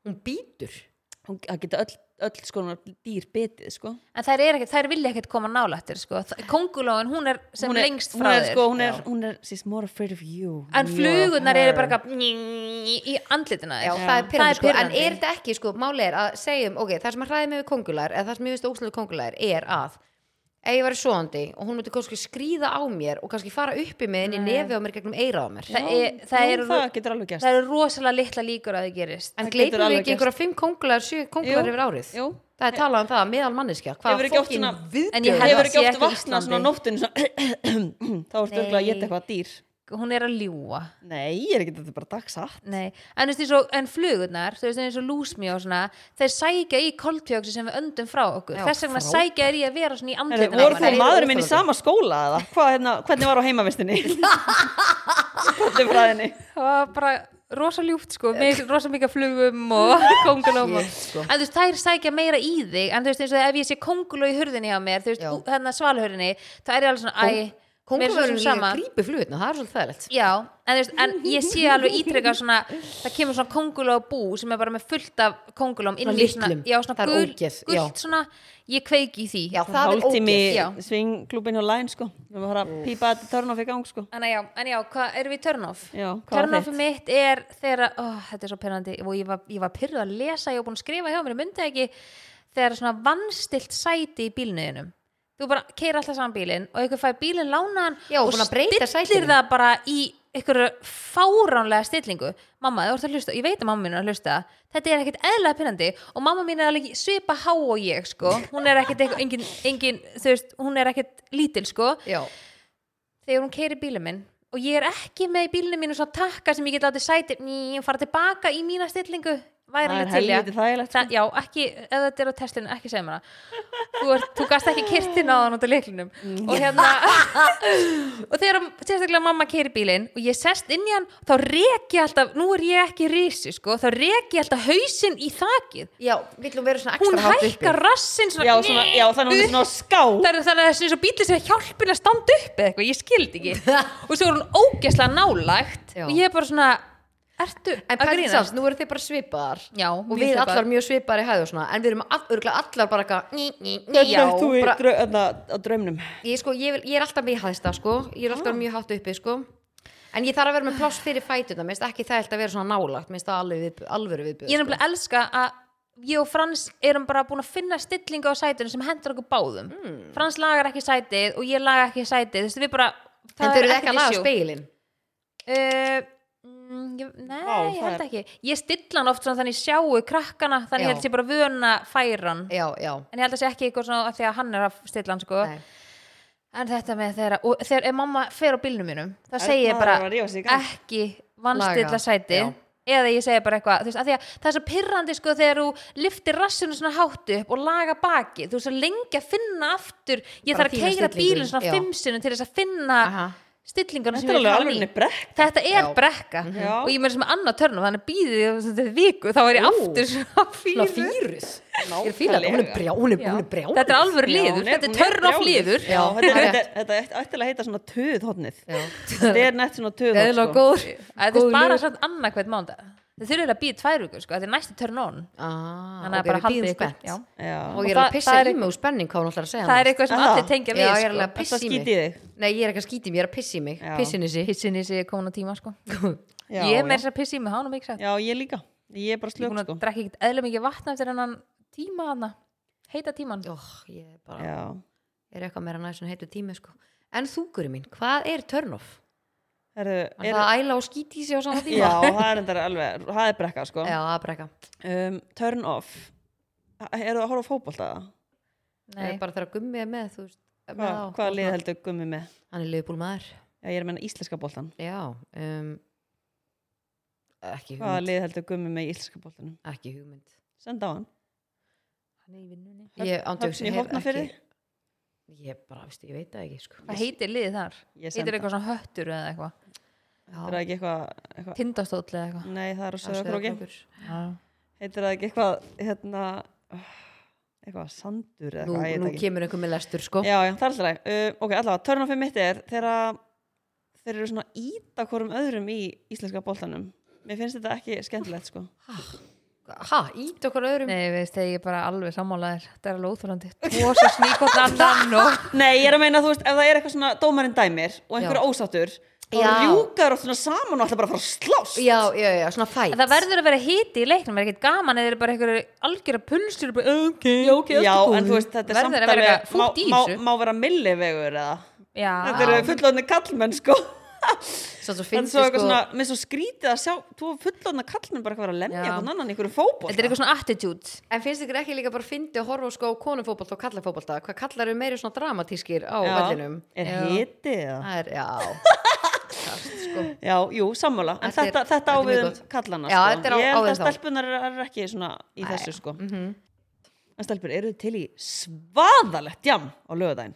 C: hún býtur
B: Hún það geta öll, öll sko dýr betið sko
A: en þær, er ekki, þær vilja ekkert koma nálættir sko. kongulun, hún er sem
B: Hún er-
A: lengst
B: hún
A: frá
B: er,
A: þér
B: sko, hún, er, hún er, she's more afraid of you
A: en
B: than you are of
A: flugurnar eru
B: her.
A: bara eitthvað í- í andlitina
C: Já,
A: þér
C: það er pyrrandi sko, en
A: pirrandi.
C: er þetta ekki sko, máli er að segjum, ok, það sem að hræði mig við kongular eða það sem ég veist óslega kongular er að ef ég væri svoandi og hún myndi kannski skríða á mér og kannski fara uppi með henni nefi á mér gegnum eira á mér
A: það,
B: Já,
A: er, það,
B: jú,
A: eru,
B: það getur alveg gerst
A: það eru rosalega litla líkur að það gerist
C: en
B: það getur
C: gleipum við
B: alveg
C: ekki
B: gerst.
C: einhverja fimm kongular, sjö kongular
B: Jú,
C: yfir árið
B: jú.
C: það er talað um það, meðal manneskja hvað
B: Hefur ekki oft
C: fólkin
B: svona-
A: En ég
C: viðbjöður
A: held
B: Hefur
A: það sé
B: ekki oft
A: ekki á
B: vaknað svona á
A: Íslandi.
B: nóttin Þá ertu öll að
A: Nei.
B: geta eitthvað dýr
A: hún er að ljúa
B: Nei, ég er ekki þetta er bara dagsatt
A: Nei, en, þú veist, eins og, en flugurnar, þú veist eins og lúsmi og svona, þeir sækja í koltjóksi sem við öndum frá okkur,
C: Já,
A: þess vegna
C: frábært.
A: sækja er ég að vera svona í
B: Heyrðu,
A: andlitin
B: Voru þú
C: Nei,
B: og maðurinn minn í
C: óþolandi.
B: sama skóla eða? Hvað, hérna, hvernig var á heimavistinni? Hvernig fræðinni?
A: það var bara rosa ljúft sko, með rosa mikið af flugum og kongulóm og,
C: Shit, Eh. sko.
A: en þú veist, þær sækja meira í þig en þú veist eins og ef ég sé konguló í hurðinni hjá mér, þú veist,
C: Já.
A: ú- hérna svalhurðinni það er ég alveg svona, æ, mér er svo
C: kongularinn
A: sem
C: líka
A: sama.
C: grípi flugutna, það er svolítið þægilegt
A: Já, en, þú veist, en ég sé alveg ítreka svona, það kemur svona konguló bú sem er bara með fullt af kongulóm inn
C: Svona
A: í svona,
C: litlum.
A: já, svona
C: Það er
A: gul,
C: ógeð, já.
A: gult svona, ég kveiki í því hérna.
C: já, það er
B: Hálftími
C: ógeð
A: já.
B: svingklúbin hjá Læn sko Við erum að fara að pípa þetta törn off í gang sko
A: En að já, en já, hvað erum við í turn off?
B: Já, hvað var
A: turn off mitt er þegar, ó, þetta er svo pyrrandi og ég var, ég var pyrruð að lesa, ég var búin að skrifa hjá mér, ég myndi ekki þegar svona vannstilt sæti í bílnöðinum þú bara keir alltaf saman bílinn og ykkur fær bílinn lánaðan
C: Já, og
A: og
C: búin að breyta sætinu.
A: stillir það bara í ykkur fáránlega stillingu mamma, þú ert að hlusta, ég veit að mamma mín er að hlusta þetta er ekkert eðlega pinnandi og mamma mín er alveg svipa há og ég sko hún er ekkert, eitthvað- engin, engin, þú veist hún er ekkert lítil sko
C: já,
A: þegar hún keiri bílum minn og ég er ekki með í bílunum mínu svona takka sem ég get látið sæti ný, og fara tilbaka í mína stillingu væri
B: Það
A: alveg
B: er
A: til í að-
B: helviti þægilegt sko.
A: Það, já, ekki, ef þetta er á testinu, ekki segja mér það þú, ert, þú gast ekki kirtin á þann út af leiklinum
B: Mm.
A: og hérna og þegar sérstaklega mamma keiri bílinn og ég sest inn í hann þá reki ég alltaf, nú er ég ekki risi sko, þá reki ég alltaf hausinn í þakið
C: já, villum vera svona
A: hún
C: ekstra hátt uppi.
A: hækkar rassinn svona,
B: Já, svona, já þannig hún er svona á ská
A: Það er þannig að þessi eins og bíli sem hjálpin að standa upp eða eitthvað, ég skildi ekki og svo er hún ógeðslega nálægt
C: Já.
A: og ég er bara svona, ertu
C: En
A: að
C: pælið
A: grínast?
C: sátt, nú eru þið bara svipaðar
A: Já,
C: og
A: mjög
C: við
A: svipaðar.
C: allar mjög svipaðar í hæðu og svona en við erum all, örgulega allar bara eitthvað ný, ný, ný,
B: Hvernig
C: já,
B: ert þú í
C: bara,
B: drau- þarna á draumnum?
C: ég, sko, ég, vil, ég er alltaf mjög hæðsta sko, ég er
A: Ah.
C: alltaf mjög hátt uppi sko en ég þarf að vera með pláss fyrir fætuna minnst ekki það að vera svona nálagt minnst það alveg viðbjöð, alvöru sko. viðbjöð
A: Ég er nefnilega elska að ég og Frans erum bara búin að finna stillingu á sætinu sem hendur okkur báðum
C: Mm.
A: Frans lagar ekki sætið og ég laga ekki sætið þú veist við bara,
C: en þau eru ekki
A: ekkert
C: að laga
A: issue.
C: speilin
A: Uh, Mm, ég, nei,
B: Vá,
A: ég
B: það
A: held
B: er-
A: ekki Ég stilla hann oft svona þannig ég sjáu krakkana Þannig ég
C: Já.
A: held sér bara vöna færan
C: já, já
A: En ég held að sé ekki eitthvað svona af Því að hann er að stilla hann sko
C: Nei.
A: En þetta með þeirra Og þegar ef mamma fer á bílnum mínum Þá segi ég
B: maður
A: bara
B: er að rífa sig í gang.
A: ekki vannstilla
C: Laga,
A: sæti
C: já.
A: Eða ég segi bara eitthvað þú veist, af því að Það er svo pirrandi sko þegar þú liftir rassinu svona hátt upp og laga baki Þú er svo lengi að finna aftur Ég
C: Bara
A: þarf að
C: fína
A: keira
C: stillingu,
A: bílinn
C: já.
A: svona fimm sinnum til þess að finna
C: Aha.
A: stillingarna
B: Þetta
A: sem ég
B: er alveg
A: var í.
B: alveg brekk.
A: þetta er
C: Já.
A: brekka
B: Já.
A: og ég meður sem annað törnum þannig býði ég þetta er viku þá er ég
C: Ó.
A: aftur svona
C: Svona
A: fýru
C: fýruð Ég er fílan, hún er
B: Nákvæmlega.
C: brjá, hún er,
A: Já.
C: hún er brjá
A: þetta er alvöru
B: Já,
A: liður,
B: hún
A: þetta
B: hún
A: er törn af
B: brjáluð.
A: liður
B: Já,
C: Já,
B: þetta er-
C: það er
B: þetta er- þetta er- ættilega að heita svona töðhotnið
C: Já.
B: Þetta er nett svona sko.
C: Það er
A: sko.
B: töðhotn
C: alveg góður
A: þetta er bara samt annað hvert mánda þau þurfum að býða tvær viku sko, þetta er næsti törn on
C: ah,
A: þannig að bara haldið ykkur já.
C: Og
B: Já,
C: ég
A: Og
C: er
A: það-
C: að pissa
A: það er
C: í mig úr spenning hvað hún ætlar að segja
A: það er
C: næst.
A: eitthvað sem
B: Aha.
A: allir tengja
C: Já,
A: við
C: ég er alveg að
A: sko.
B: þetta
C: pissa í mig
B: skýti þig
C: Nei, ég er ekki að skýti í mig, ég er að pissa í mig
B: Já.
C: Pissin þessi
A: pissin í sig er komin á tíma sko.
B: Já,
A: ég
B: já.
A: er meira að pissa í mig, hann er mikið sagt
B: Já, ég líka Ég er bara
A: ég er
B: slök
A: búin
B: sko
A: að drekka ekkert eðla mikið vatna eftir hennan tíma hana heita tíman
C: Ó, Ég er bara,
B: Já,
C: er eitthvað meira næst en heitu tími sko En þúkurinn mín, hvað er turn-off?
B: Herðu,
C: Er
B: er-
C: það að æla og skýti í sig á sama tíma?
B: já það er endar alveg Það er brekka sko
C: Já, það er bara eitthvað
B: um, Turn off Eru það að horfa á fótbolta? eða?
C: Það
A: Nei.
C: er bara þegar að gummi er með, þú veist með
B: Hvað,
C: á-
B: hvaða lið heldur gummi með?
C: Hann er liðbúl maður
B: Já, ég er að menna íslenska boltan
C: Já um, Ekki
B: Hvaða
C: hugmynd
B: lið heldur gummi með í íslenska boltanum?
C: Ekki hugmynd
B: Senda á hann
A: Hann er í vinnunni.
B: Höfn-
C: Ég ándjóks,
B: Höfn í
C: ég hef
B: Hornafirði?
C: ekki Ég bara, veistu, ég veit það ekki sko.
A: hvað heitir liðið þar?
B: Ég
A: heitir
B: senda
A: eitthvað svona höttur eða eitthvað
B: Þetta er það ekki eitthvað eitthva?
A: tindastóll eða eitthvað
B: Nei, það er á
C: Já,
B: söðakróki
C: Sauðárkrókur.
B: Mm. Heitir það ekki eitthvað hérna, eitthvað sandur eða
C: Nú,
B: eitthvað, ég
C: nú
B: veit ekki.
C: kemur einhver með lestur sko
B: Já, já, það er alltaf læg. Uh, ok, allavega, törn á fyrir mitt er þegar þeir eru svona að íta hvorum öðrum í íslenska boltanum. Mér finnst þetta ekki skemmtilegt, sko.
C: Ha, ít okkur öðrum
A: Nei, veist, þegar ég er bara alveg sammálaðir Þetta er alveg óþjólandi Tósa sníkotn annan og
B: Nei, ég er að meina, þú veist, ef það er eitthvað svona dómarinn dæmir og einhver
C: Já.
B: ósáttur, þá
C: Já.
B: rjúkaður oft svona saman og alltaf bara að fara að slást.
C: Já, já, já, svona fæt
A: En Það verður að vera hiti í leiknum Það er ekkert gaman eða þeir eru bara einhverju algjöra pulsur bara, um? Ok, ok,
B: Já,
A: allt í
B: en
A: góðu.
B: þú veist, þetta er
A: Verður að
B: samt
A: vera
B: alveg,
A: eitthvað fútt í
B: má,
A: þessu.
B: má, má vera millivegur eða.
A: Já,
B: Þetta eru fullorðni kallmenn, sko.
C: Svo svo
B: En
C: finnst
B: svo
C: þið
B: eitthvað
C: sko
B: svona, með svo skrítið að sjá, þú fullorðna kallmenn bara eitthvað vera að lemja
A: Já.
B: eitthvað annan í einhverju fótból.
A: þetta er eitthvað svona attitude
C: En finnst ykkur ekki líka bara fyndi að horfa á sko konufótbolta og kallafótbolta hvað kallar eru meiri svona dramatískir á vellinum
B: Er
A: Já.
B: hitið eða?
C: Það er, já Kast, sko.
B: Já, jú, sammála En
C: Þetta er-
B: þetta, þetta
C: þetta
B: á
C: er
B: við
C: mjög
B: um
C: gott.
B: kallana
C: Já,
B: sko.
C: þetta er á-
B: Ég
C: á
B: held
C: við
B: að
C: þá.
B: stelpunar er, er ekki svona í þessu sko
C: Mhm.
B: En stelpur, eru þið til í svaðalegt jam á lögudaginn?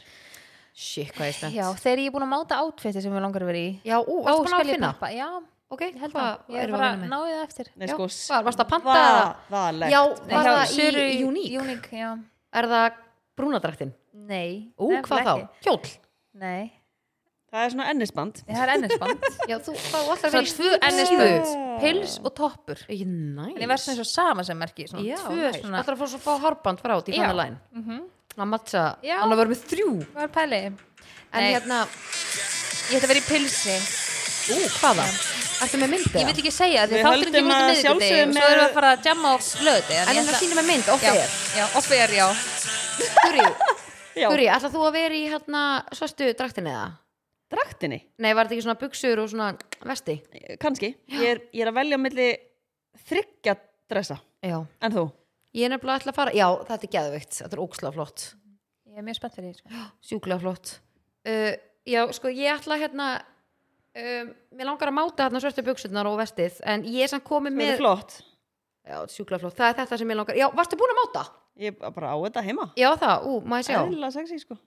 C: Shit, hvað ég spennt
A: Já, þegar ég er búin að máta átfiti sem við langar að vera í
C: Já, ú,
A: Þá
C: varstu búin að
A: skal ég
C: finna
A: peppa Já,
C: Ok, held
A: það, ég er bara að ná það eftir
B: Nei,
C: Já,
B: sko,
C: hvað, varstu að panta eða?
B: svaðalegt
C: Já,
B: jam.
C: var
A: Hjá
C: það
A: Söru
C: í Unique?
A: Unique, já
C: Er það brúnadrættin?
A: Nei
C: Ú,
A: nefnilega
C: hvað
A: ekki.
C: þá? Kjól?
A: Nei,
B: Það er svona ennisband
A: það er ennisband
C: Já, þú, þá
A: Svo
C: ætlar
A: tvö
C: að vera í
A: ennisband,
B: Já.
A: pils og toppur
C: Næs
A: En ég verð svona eins og sama sem merki svona,
C: Já,
A: Tvö
C: næs.
A: svona
C: ætlar að fá svo fá harband frá til
A: Já.
C: þannig læn Að matcha,
A: Já.
C: hann að vera með þrjú
A: Hvað er pæli?
C: En
A: Nei.
C: hérna,
A: Ég ætla að vera í pilsi
C: ú, hvaða? Ertu með myndið?
A: Ég vil ekki segja því
B: Við
A: að þátturinn
B: höldum
A: kemur út á
B: að
A: miðvikudegi og svo
B: sjálfsögðu
A: erum við
B: með-
A: að fara að jamma á löði
C: En hérna sínum með mynd,
A: Já,
C: ofta er
A: já, offer, já
C: Huri,
B: Já,
C: Huri, ætlar þú að vera í hérna svartu draktin eða?
B: draktinni,
C: Nei, var þetta ekki svona buksur og svona vesti?
B: kannski ég er, ég er að velja milli þryggja dressa
C: Já
B: En þú?
C: Ég er nefnilega ætla að fara, já, þetta er geðveikt, þetta er ókslega flott
A: Ég er mjög spennt fyrir því sko.
C: sjúklega flott uh, já, sko, ég ætla hérna um, mér langar að máta hérna svörtu buksunar og vestið, en ég er samt komið
B: Þú
C: með
B: er flott
C: já, sjúklega flott, það er þetta sem ég langar já, varstu búin að máta?
B: Ég er bara á þetta heima
C: já, það, ú, má ég sjá
B: Eðlilega sexy sko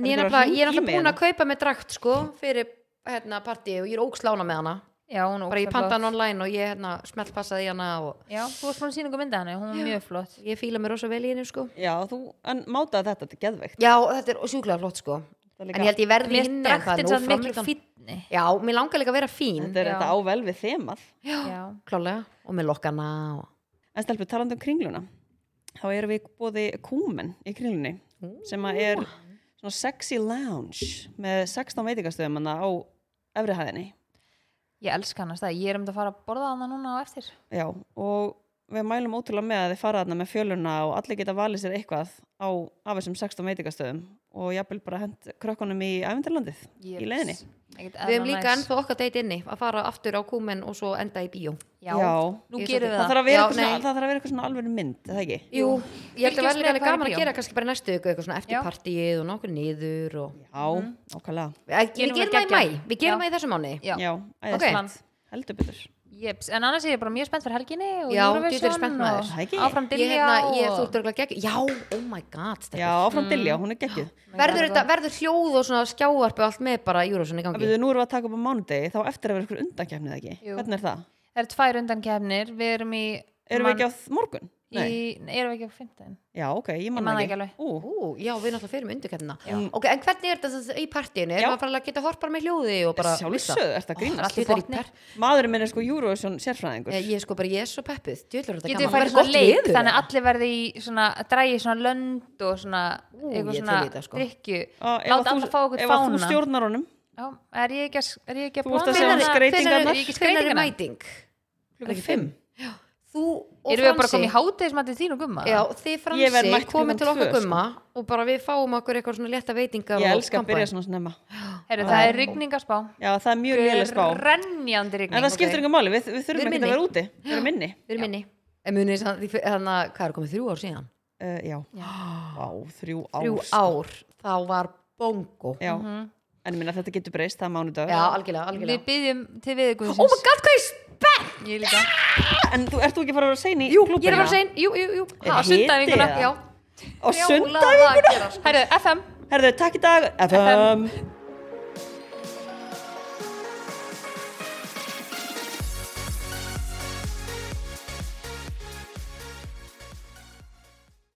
C: en ég
B: Það
C: er
B: er bara
C: náttúrulega, ég er
B: hringi
C: náttúrulega
B: með
C: búin
B: hana.
C: að kaupa með drakt, sko, fyrir hérna partíu og ég er ókslána með hana
A: Já, hún er
C: bara ég
A: ógeðslega
C: panta hann
A: flott.
C: online og ég hérna smeltpassaði í hana og
A: Já, þú varst búin að sína ykkur mynda hann Hún er mjög flott
C: ég fíla mér rosa vel í henni, sko
B: Já, þú, en mátaði þetta, þetta er geðveikt
C: já, þetta er sjúklega flott, sko
B: Þetta er
C: en
B: líka-
C: ég held ég verði
A: Mér
C: hinn en það
A: draktin
C: er nóg
A: samt miklu
C: framöndan.
A: fínni
C: já, mér langar líka að vera fín
B: Þetta
A: Já.
B: er þetta á vel við þemað
A: Já,
C: klálega, og með lokkana og...
B: En stelpur, talandi um kringluna þá erum við bóði kúmen í kringlunni sem að er svona sexy lounge með 16 veitingastöðum hana á efri hæðinni
A: ég elska hann að stað Ég er um þetta að fara að borða hann núna á eftir
B: Já, og við mælum ótrúlega með að þið fara þarna með fjöluna og allir geta valið sér eitthvað á af þessum 16 veitingastöðum og jafnvel bara hend krökkunum í ævendarlandið í leiðinni.
C: Við hefum líka ennþá okkar deitt inni að fara aftur á kúmen og svo enda í bíó.
A: Já,
B: Já.
A: nú Mhm.
C: Ég er
A: gerum
C: svolítið-
A: við
B: Það
A: það
B: þarf að vera
C: Já,
B: eitthvað svona-
C: nei.
B: það þarf að vera eitthvað svona alveg mynd, er það ekki?
C: Jú, ég held að
A: Fylgjast
C: verði
A: með
C: líka alveg
A: hvað er
C: gaman
A: í
C: að
A: bíó.
C: gera kannski bara í næstu ykkur eitthvað svona eftir
A: Já.
C: partíið og nokkur niður og...
B: Já, okkarlega.
C: Við
A: Gerum við
C: gerum það í
A: geggjað.
C: mæ, við gerum
A: Já.
C: það í þessum mánu.
A: Já.
B: Já, æðislegt. Heldur betur.
A: Jeps, en annars er ég bara mjög spennt fyrir helginni og
C: Já, djöfull er ég spennt
A: Eurovision
C: maður.
B: Það
A: og
B: ekki?
A: áfram
C: Ég,
A: dilja
C: hérna, ég, þú
A: og...
C: ert örgulega geggjum. Já, oh my god, stelpur.
B: Já,
A: Mhm.
B: áfram mm. Dilja, hún er geggjuð.
C: Verður, þetta, verður hljóð og svona skjávarp og allt með bara Júrósson í
B: Það
C: gangi?
B: byrjuðu, nú erum við að taka upp á mánudegi, þá á eftir að vera ykkur undankefnið ekki.
A: Jú.
B: Hvernig er það?
A: Það eru tvær undankefnir, við erum í
B: Erum við ekki á þ- morgun?
A: í, nei, erum við ekki á fimmtæðin
B: Já, ok, ég
A: Ég
B: man
A: man
B: það
A: það ekki alveg.
B: Ú,
C: Ú, já, við náttúrulega fyrir með undirkættina. Mm. Ok, en hvernig er þetta sem sagt í partíinu?
B: Já.
C: Erum við að fara að geta horpar með hljóði og bara...
B: sjálfsögðu, er þetta
C: Það er
B: grínast?
C: allir fyrir í per...
B: Maðurinn minn er sko Eurovision sérfræðingur.
C: Ég er sko bara, ég er svo peppuð. Djöðlur þetta
A: Getum við
C: gaman.
A: farið í
C: Það verður
A: svona leik
C: veður,
A: þannig að
C: eða?
A: allir verði í svona drægi svona lönd og svona
C: Ú,
A: eitthvað
C: ég
A: svona
C: til í þetta, sko.
A: drykju
B: Á, ef að
A: Láta
B: þú-
A: alla fá okkur
B: Ef að þú
A: fána
B: stjórnar honum,
A: Já, er ég ekki að, er ég ekki að
B: Þú ert að
A: plana þetta?
B: sjá um
C: Hvenær-
B: skreytingarnar.
C: hvenær-
A: Ég ekki
C: Hvenær er
B: hérna.
A: skreytingarnar.
C: mæting?
B: klukkan ekki fimm.
C: Þú og
A: Erum við bara
C: Fransi-
A: komið í hátegismætti þín og gumma?
C: Já, þið
B: Ég verð
C: fransi
B: mætt klukkan
C: komið til okkar
B: tvö, sko.
C: gumma og bara við fáum okkur eitthvað svona létta veitingar
B: Ég
C: og
B: elska að
C: kampavín.
B: byrja svona snemma.
A: Heru, það er rigningarspá
B: Já, það er mjög lélega spá.
A: Grenjandi rigning
B: En það skiptir
A: ok?
B: ykkur máli, við, við
C: Við
B: þurfum
C: erum
B: ekki að
C: inni.
B: vera úti. Við erum inni.
C: Við erum inni. En munið þess að þannig að hérna, hvað er komið þrjú ár síðan?
B: Uh, já. Vá, þrjú ár.
C: Þrjú
B: sko.
C: ár, þá var bongo.
B: Já, en ég minna þetta getur breyst, það er mánudag.
C: Já, algjörlega, algjörlega.
A: Við byggjum til við ykkur
C: Oh my god, hvað ég spennt!
A: Ég líka
B: En þú, ert þú ekki að fara að vera sein í
C: Jú,
B: klúbbinn?
C: ég er að fara að segja, jú, jú, jú.
B: Er
A: Á sundaði
B: hiti
A: vikuna
B: eða?
A: Já
B: Á
C: Já,
B: sund?
C: láta það að gera, sko.
A: Herru, FM
B: Herðu, takk í dag. FM.